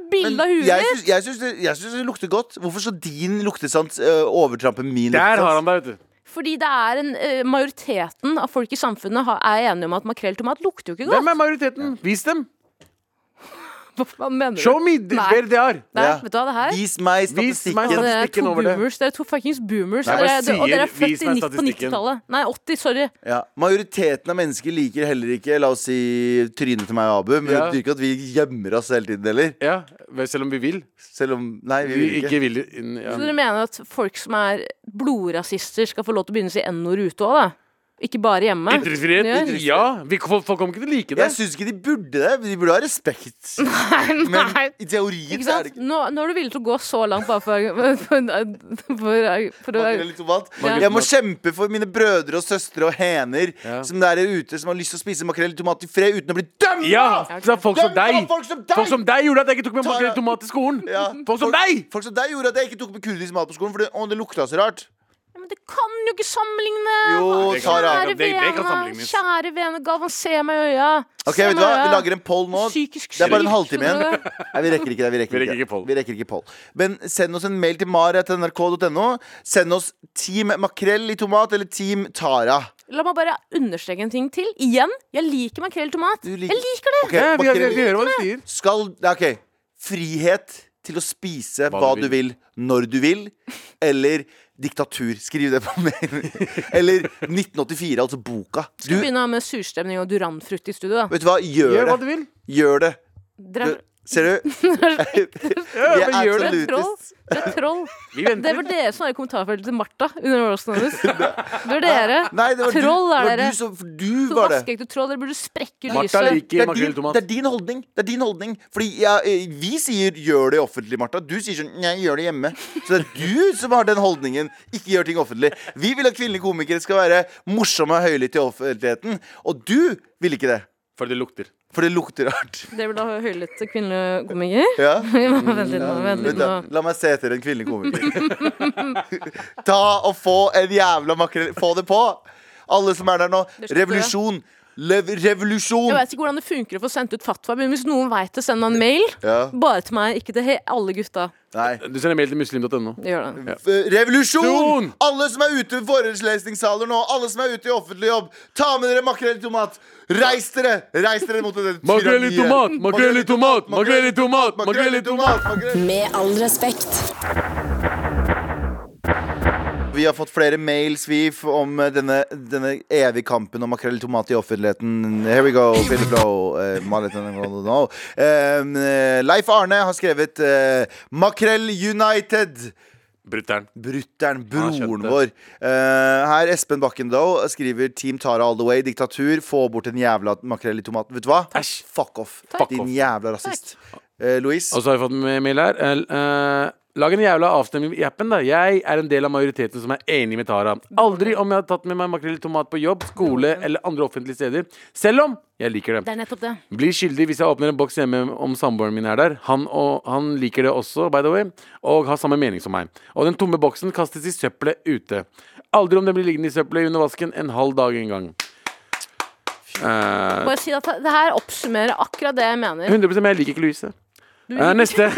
Speaker 4: bilde av
Speaker 3: Men
Speaker 4: huet
Speaker 3: jeg
Speaker 4: ditt?
Speaker 3: syns- jeg syns det, jeg syns det lukter godt. Hvorfor skal din luktesans øh, overtrampe min
Speaker 2: Der har
Speaker 3: luktesans?
Speaker 2: han deg, vet du.
Speaker 4: Fordi det er en eh, majoriteten av folk i samfunnet har, er enige om at makrelltomat lukter jo ikke godt.
Speaker 2: Hvem er majoriteten? Vis dem!
Speaker 4: Hva, hva mener du?
Speaker 2: Show me th-
Speaker 4: Nei.
Speaker 2: where they are!
Speaker 4: Nei,
Speaker 3: Ja.
Speaker 4: vet du hva det her?
Speaker 3: Vis meg
Speaker 2: Vis meg
Speaker 3: statistikken.
Speaker 4: Dere er to
Speaker 2: statistikken over det.
Speaker 4: boomers. Dere er to fuckings boomers.
Speaker 2: Nei,
Speaker 4: dere
Speaker 2: hva
Speaker 4: er, dere- og dere er
Speaker 2: sier-
Speaker 4: født
Speaker 2: vis
Speaker 4: i
Speaker 2: meg
Speaker 4: 90, på
Speaker 2: statistikken.
Speaker 4: 90-tallet. Nei, 80, sorry.
Speaker 3: Ja. Majoriteten av mennesker liker heller ikke La oss si trynet til meg og Abu, men det
Speaker 2: Ja.
Speaker 3: betyr ikke at vi gjemmer oss hele tiden heller.
Speaker 2: Ja, vel, selv om vi vil.
Speaker 3: Selv om Nei, vi
Speaker 2: Vi
Speaker 3: vil
Speaker 2: ikke
Speaker 3: ikke.
Speaker 2: vil inn, ja.
Speaker 3: Sånn.
Speaker 4: Så dere mener at folk som er blodrasister, skal få lov til å begynne å si n-ord ute òg, da? Ikke bare hjemme?
Speaker 2: Ytringsfrihet?
Speaker 4: Ja.
Speaker 2: Ja! Vi, folk folk kommer ikke til å like det.
Speaker 3: Jeg syns ikke de burde det. De burde ha respekt. Men
Speaker 4: Nei.
Speaker 3: i teorien så er
Speaker 4: Ikke sant?
Speaker 3: det ikke
Speaker 4: Nå, nå er du villig til å gå så langt bare for, for, for, for,
Speaker 3: Man
Speaker 4: for
Speaker 3: grillet litt tomat.
Speaker 4: Ja.
Speaker 3: Jeg må kjempe for mine brødre og søstre og hener
Speaker 2: Ja.
Speaker 3: som der er ute, som har lyst til å spise makrell i tomat i fred uten å bli dømt!
Speaker 2: Ja! Det er folk som
Speaker 3: Dømt av
Speaker 2: deg!
Speaker 3: folk som deg!
Speaker 2: Folk som deg gjorde at jeg ikke tok med
Speaker 3: Ta-
Speaker 2: makrell i tomat til skolen!
Speaker 3: Ja.
Speaker 2: Folk Eh, som deg!
Speaker 3: Folk som deg gjorde at jeg ikke tok med kurdisk mat på skolen, for det, å, det lukta så rart.
Speaker 4: Men det kan jo ikke sammenligne!
Speaker 3: Jo,
Speaker 2: det kan-
Speaker 3: Sara.
Speaker 4: Kjære
Speaker 2: det- det kan
Speaker 4: vene,
Speaker 2: sammenlignes.
Speaker 4: kjære vene, Galvan, se meg i øya.
Speaker 3: Ok, vet du hva? Vi lager en poll nå.
Speaker 4: Psykisk
Speaker 3: Det er bare en
Speaker 4: syk,
Speaker 3: halvtime igjen.
Speaker 4: skjønner du det?
Speaker 3: Nei, vi rekker ikke det. Vi rekker,
Speaker 2: Vi rekker ikke poll.
Speaker 3: Vi rekker ikke poll. Men send oss en mail til mari.nrk.no. Send oss Team Makrell i tomat eller Team Tara.
Speaker 4: La meg bare understreke en ting til. Igjen, jeg liker makrell i tomat.
Speaker 3: Du liker-
Speaker 4: Jeg liker det!
Speaker 3: Ok,
Speaker 2: Ja, vi, vi, vi
Speaker 3: makrell
Speaker 2: hører hva du sier.
Speaker 3: skal ja, OK. Frihet til å spise hva, du, vil. når du vil, eller diktatur. Skriv det på mail. Eller 1984, altså boka. Du,
Speaker 4: Begynne å ha med surstemning og duranfrukt i studio. Da.
Speaker 3: vet du hva? Gjør
Speaker 2: Gjør hva du
Speaker 3: det.
Speaker 2: vil.
Speaker 3: Gjør det.
Speaker 4: Dere er-
Speaker 3: Ser du?
Speaker 2: Ja,
Speaker 3: Jeg
Speaker 2: bare
Speaker 3: er
Speaker 2: gjør
Speaker 4: dere
Speaker 2: det.
Speaker 4: er troll. Dere er troll.
Speaker 2: Vi
Speaker 4: Det
Speaker 2: venter
Speaker 4: var
Speaker 2: litt.
Speaker 4: dere som var i kommentarfeltet til Martha under roasten hennes. Det var dere.
Speaker 3: Nei, det var
Speaker 4: Troll
Speaker 3: du,
Speaker 4: er
Speaker 3: det var
Speaker 4: dere.
Speaker 3: Du, som, for du
Speaker 4: To
Speaker 3: var det.
Speaker 4: vaskeekte troll. Dere burde sprekke
Speaker 2: Martha
Speaker 4: lyset.
Speaker 3: Det
Speaker 2: liker
Speaker 3: er,
Speaker 2: makrell
Speaker 3: din,
Speaker 2: i tomat.
Speaker 3: det er din holdning. Det er din holdning Fordi jeg, eh, Vi sier 'gjør det offentlig', Martha. Du sier sånn 'jeg gjør det hjemme'. Så det er du som har den holdningen. Ikke gjør ting offentlig. Vi vil at kvinnelige komikere skal være morsomme og høylytte i offentligheten. Og du vil ikke det.
Speaker 2: For det lukter.
Speaker 3: For det lukter rart.
Speaker 4: Dere vil ha høylytt kvinnelig komiker?
Speaker 3: Ja
Speaker 2: Mm,
Speaker 4: Vent litt nå. Vent
Speaker 3: Vent
Speaker 4: litt
Speaker 3: da,
Speaker 4: nå.
Speaker 3: la meg se etter en kvinnelig komiker. Ta og få en jævla makrell Få det på! Alle som er der nå.
Speaker 4: Det er slutt,
Speaker 3: Revolusjon! Lev revolusjon!
Speaker 4: Jeg vet ikke hvordan det funker å få sendt ut fatwa, men hvis noen vet det, send meg en mail.
Speaker 3: Ja,
Speaker 4: Bare til meg, ikke til he alle gutta.
Speaker 3: nei
Speaker 2: Du sender mail til muslim.no.
Speaker 4: Gjør det.
Speaker 3: F- Revolusjon!
Speaker 2: Jon!
Speaker 3: Alle som er ute i forelesningssaler nå, alle som er ute i offentlig jobb, ta med dere makrell i tomat. Reis dere! Reis dere mot det
Speaker 2: Makrell i
Speaker 3: tyranniet.
Speaker 2: tomat! Makrell i tomat! Makrell i tomat!
Speaker 3: Makrell i tomat! makrell-
Speaker 1: Med all respekt.
Speaker 3: Vi har fått flere mails vi f- om eh, denne, denne evige kampen om makrell i tomat i offentligheten. Here we go, Philip Lowe. eh, Marit and Ronald Lowe. Em, eh, Leif Arne har skrevet eh, 'Makrell United'.
Speaker 2: Brutter'n.
Speaker 3: Brutter'n,
Speaker 2: Han har
Speaker 3: broren
Speaker 2: skjønt det.
Speaker 3: vår. Eh, her Espen Bakkendal skriver 'Team Tara all the way'. Diktatur. Få bort den jævla makrell i tomaten. Vet du hva?
Speaker 2: Æsj.
Speaker 3: Fuck off.
Speaker 2: Takk. Altså-
Speaker 3: Din
Speaker 2: Fuck off.
Speaker 3: jævla rasist. Eh, Louise?
Speaker 2: Og så har jeg fått med mail her. Eh, eh, lag en jævla avstemning i appen, da. Jeg er en del av majoriteten som er enig med Tara. Aldri om jeg har tatt med meg makrell i tomat på jobb, skole eller andre offentlige steder. Selv om jeg liker
Speaker 4: Det
Speaker 2: det.
Speaker 4: er nettopp det.
Speaker 2: Blir skyldig hvis jeg åpner en boks hjemme om samboeren min er der. Han, og, han liker det også, by the way, og har samme mening som meg. Og den tomme boksen kastes i søppelet ute. Aldri om den blir liggende i søppelet under vasken en halv dag engang. Uh,
Speaker 4: Bare si at det her oppsummerer akkurat det jeg mener.
Speaker 2: 100 men jeg liker ikke Louise. Eh, neste.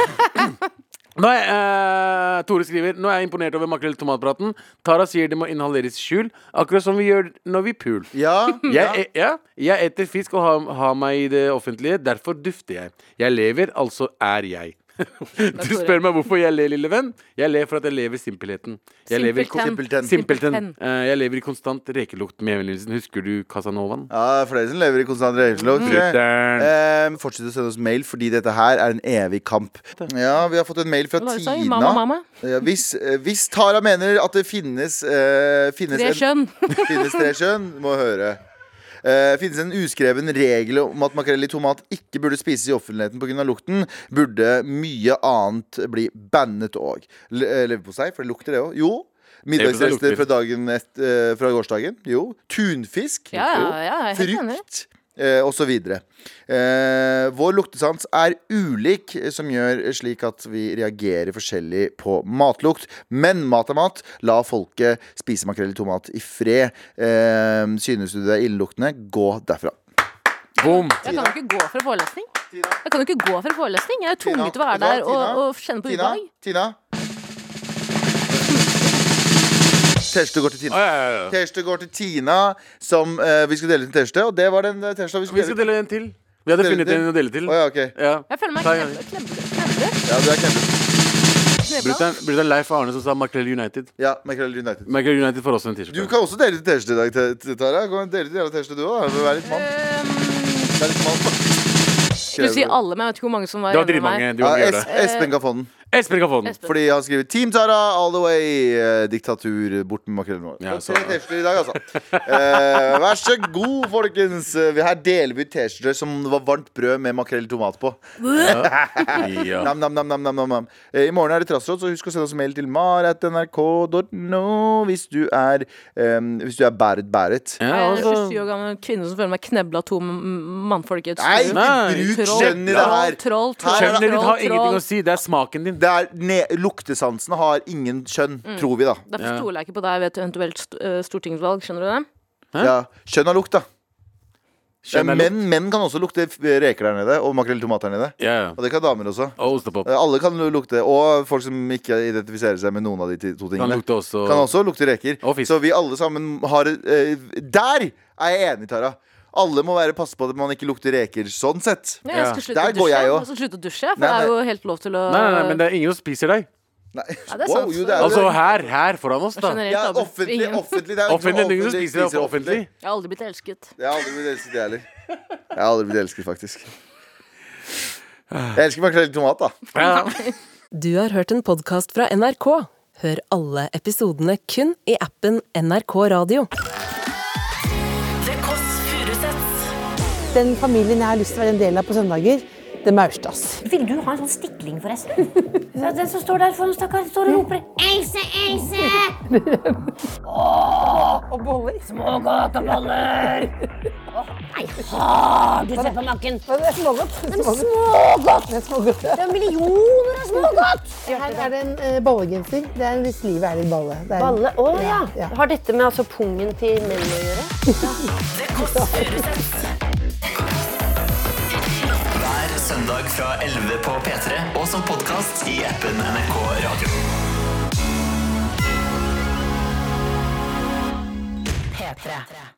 Speaker 2: Nå er, eh, Tore skriver Nå er jeg imponert over makrell i tomatpraten. Tara sier det må inhaleres i skjul, akkurat som vi gjør når vi pul.
Speaker 3: Ja?
Speaker 2: Jeg, e- ja, jeg eter fisk og har har meg i det offentlige, derfor dufter jeg. Jeg lever, altså er jeg. Du
Speaker 4: Tore.
Speaker 2: spør meg hvorfor jeg ler, lille venn. Jeg ler for at jeg lever simpelheten. Jeg lever i kon-
Speaker 4: Simpelthen.
Speaker 2: simpelthen.
Speaker 4: Simpelthen.
Speaker 2: Eh, jeg lever i konstant rekelukt med vennligheten. Husker du Casanovaen?
Speaker 3: Ja, det er flere som lever i konstant
Speaker 4: Mm.
Speaker 3: regelslått.
Speaker 2: Mm. Brutter'n.
Speaker 3: fortsett å sende oss mail, fordi dette her er en evig kamp. Ja, Vi har fått en mail fra
Speaker 4: Hva var det du sa?
Speaker 3: Tina.
Speaker 4: Mamma, mamma?
Speaker 3: Ja, hvis, eh, hvis Tara mener at det finnes, eh, finnes
Speaker 4: Tre
Speaker 3: en-
Speaker 4: kjønn.
Speaker 3: Finnes tre kjønn, må høre. Eh, finnes en uskreven regel om at makrell i tomat ikke burde spises i offentligheten pga. lukten, burde mye annet bli bannet òg. Leverpostei, for det lukter det òg. Jo. Middagsrester
Speaker 2: lukter.
Speaker 3: fra, dagen et- eh, fra gårsdagen. Jo. Tunfisk.
Speaker 4: Ja,
Speaker 3: jo.
Speaker 4: ja, ja, jeg er helt enig.
Speaker 3: Frukt. Eh, og så videre. Eh, vår luktesans er ulik, eh, som gjør slik at vi reagerer forskjellig på matlukt. Men mat er mat. La folket spise makrell i tomat i fred. Eh, synes du det er illeluktende, gå derfra.
Speaker 4: Eh.
Speaker 2: Boom!
Speaker 4: Jeg kan jo ikke gå fra forelesning. Jeg kan jo ikke gå fra forelesning. Jeg er
Speaker 3: Tina,
Speaker 4: tvunget til å være
Speaker 3: vet du hva,
Speaker 4: der og,
Speaker 3: Tina?
Speaker 4: og kjenne på
Speaker 3: Tina,
Speaker 4: ubehag.
Speaker 3: Tina. T-skjorte går til Tina.
Speaker 2: Å, ja, ja, ja.
Speaker 3: T-skjorte går til Tina, som eh, vi skulle dele ut en T-skjorte. Og det var den eh, T-skjorta vi
Speaker 2: Vi
Speaker 3: skulle
Speaker 2: skal
Speaker 3: dele ut.
Speaker 2: dele en til. Vi hadde
Speaker 3: Dele
Speaker 2: funnet
Speaker 3: til.
Speaker 2: en å dele til.
Speaker 3: Å ja, ok.
Speaker 2: Ja.
Speaker 4: Jeg føler meg
Speaker 2: Ta en gang.
Speaker 4: klem- klemte. Klemte.
Speaker 3: Ja, du er kjempe.
Speaker 4: Knebla.
Speaker 2: Brutter'n brutter'n Leif Arne som sa Makrell United.
Speaker 3: Ja, Makrell United.
Speaker 2: Makrell United får også en
Speaker 3: Du
Speaker 2: T-skjorte.
Speaker 3: kan også dele ut T-skjorte i dag, T- T- Tara. Kom, dele ut jævla T-skjorte du òg. Vær litt mann.
Speaker 4: Øhm,
Speaker 3: Vær litt mann.
Speaker 4: Skulle si alle, men jeg vet ikke hvor mange som var
Speaker 2: Det var
Speaker 4: enig med meg.
Speaker 2: dritmange. Du
Speaker 3: Ja,
Speaker 2: kan gjøre
Speaker 3: es
Speaker 2: det.
Speaker 3: Espen kan få den.
Speaker 2: Espen kan få den.
Speaker 3: Fordi han skriver 'Team Tara all the way'. eh, Diktatur bort med makrellen vår.
Speaker 2: Ja,
Speaker 3: Og
Speaker 2: så-
Speaker 3: Tre T-skjorter i dag, altså. Eh, vær så god, folkens. Eh, Her deler vi ut T-skjorter som var varmt brød med makrell i tomat på.
Speaker 2: Ja.
Speaker 3: Nam, nam, nam, nam, nam, nam, nam. Eh, I morgen er det trassråd, så husk å sende oss mail til maratnrk.no hvis du er um, Hvis du er bæret bæret.
Speaker 2: Ja,
Speaker 4: Jeg er en
Speaker 2: altså.
Speaker 4: 27 år gammel kvinne som føler meg knebla av to m- mannfolk i et
Speaker 3: Nei,
Speaker 4: studio.
Speaker 2: Nei.
Speaker 3: ikke bruk
Speaker 4: Troll,
Speaker 3: skjønn i det her.
Speaker 4: troll, troll, troll,
Speaker 3: Her er
Speaker 2: Skjønnet
Speaker 3: det-
Speaker 2: ditt
Speaker 4: troll,
Speaker 2: har ingenting
Speaker 4: troll.
Speaker 2: å si. Det er smaken din.
Speaker 3: Det er ne Luktesansen har ingen kjønn,
Speaker 2: Mm.
Speaker 3: tror vi, da.
Speaker 4: Derfor
Speaker 2: Ja.
Speaker 4: stoler jeg ikke på deg ved et eventuelt st- øh, stortingsvalg, skjønner du det?
Speaker 2: Hæ?
Speaker 3: Ja, kjønn har lukt, da. Ja,
Speaker 2: Skjønner
Speaker 3: menn, menn kan også lukte f- reker der nede, og makrell i tomat der nede.
Speaker 2: Ja, ja.
Speaker 3: Og det kan damer også.
Speaker 2: Og ostepop.
Speaker 3: Eh, Alle kan lukte, og folk som ikke identifiserer seg med noen av de ti- to
Speaker 2: Kan
Speaker 3: tingene.
Speaker 2: lukte også
Speaker 3: Kan også lukte reker.
Speaker 2: Og fisk.
Speaker 3: Så vi alle sammen har eh, Der er jeg enig, Tara! Alle må være passe på at man ikke lukter reker sånn sett.
Speaker 4: Nei,
Speaker 2: Ja.
Speaker 4: jeg skal slutte
Speaker 3: Der
Speaker 4: å
Speaker 3: går
Speaker 4: dusje.
Speaker 3: jeg
Speaker 4: Jeg
Speaker 3: også.
Speaker 4: skal slutte å dusje, for
Speaker 3: Nei,
Speaker 4: det er
Speaker 3: nei.
Speaker 4: jo helt lov til å
Speaker 2: Nei, nei, nei, men det er ingen som spiser deg.
Speaker 3: Nei.
Speaker 4: det er
Speaker 3: wow,
Speaker 4: sant.
Speaker 3: jo, det er
Speaker 2: Altså her, her foran oss, da.
Speaker 4: Generelt
Speaker 3: ja,
Speaker 4: tabu.
Speaker 3: offentlig,
Speaker 4: Ingen-
Speaker 3: offentlig. Det er jo ikke
Speaker 2: Offentlig,
Speaker 3: noe
Speaker 2: det er ingen som spiser deg offentlig.
Speaker 4: Jeg har aldri blitt elsket.
Speaker 3: Jeg har aldri blitt elsket, jeg heller. Jeg har aldri blitt elsket, faktisk. Jeg elsker makrell i tomat, da.
Speaker 2: Ja.
Speaker 1: Du har hørt en podkast fra NRK. Hør alle episodene kun i appen NRK Radio.
Speaker 8: Den familien jeg har lyst til å være en del av på søndager, det er Maurstads.
Speaker 9: Vil du ha en sånn stikling, forresten? Ja, Den som står der foran, stakkar, står og roper 'Else, Else!'
Speaker 8: Og boller.
Speaker 9: Smågodteboller! Nei, har du sett på makken?
Speaker 8: Men det er smågodt.
Speaker 9: Smågodt!
Speaker 8: Det er smågodt.
Speaker 9: Det er millioner av smågodt!
Speaker 8: Her er det en eh, ballegenser. Det er hvis livet er litt balle. Det er en-
Speaker 9: Balle, å ja.
Speaker 8: Ja, ja.
Speaker 9: Har dette med altså pungen til menn å gjøre?
Speaker 10: Hver søndag fra 11 på P3 og som podkast i appen NRK Radio.
Speaker 9: P3.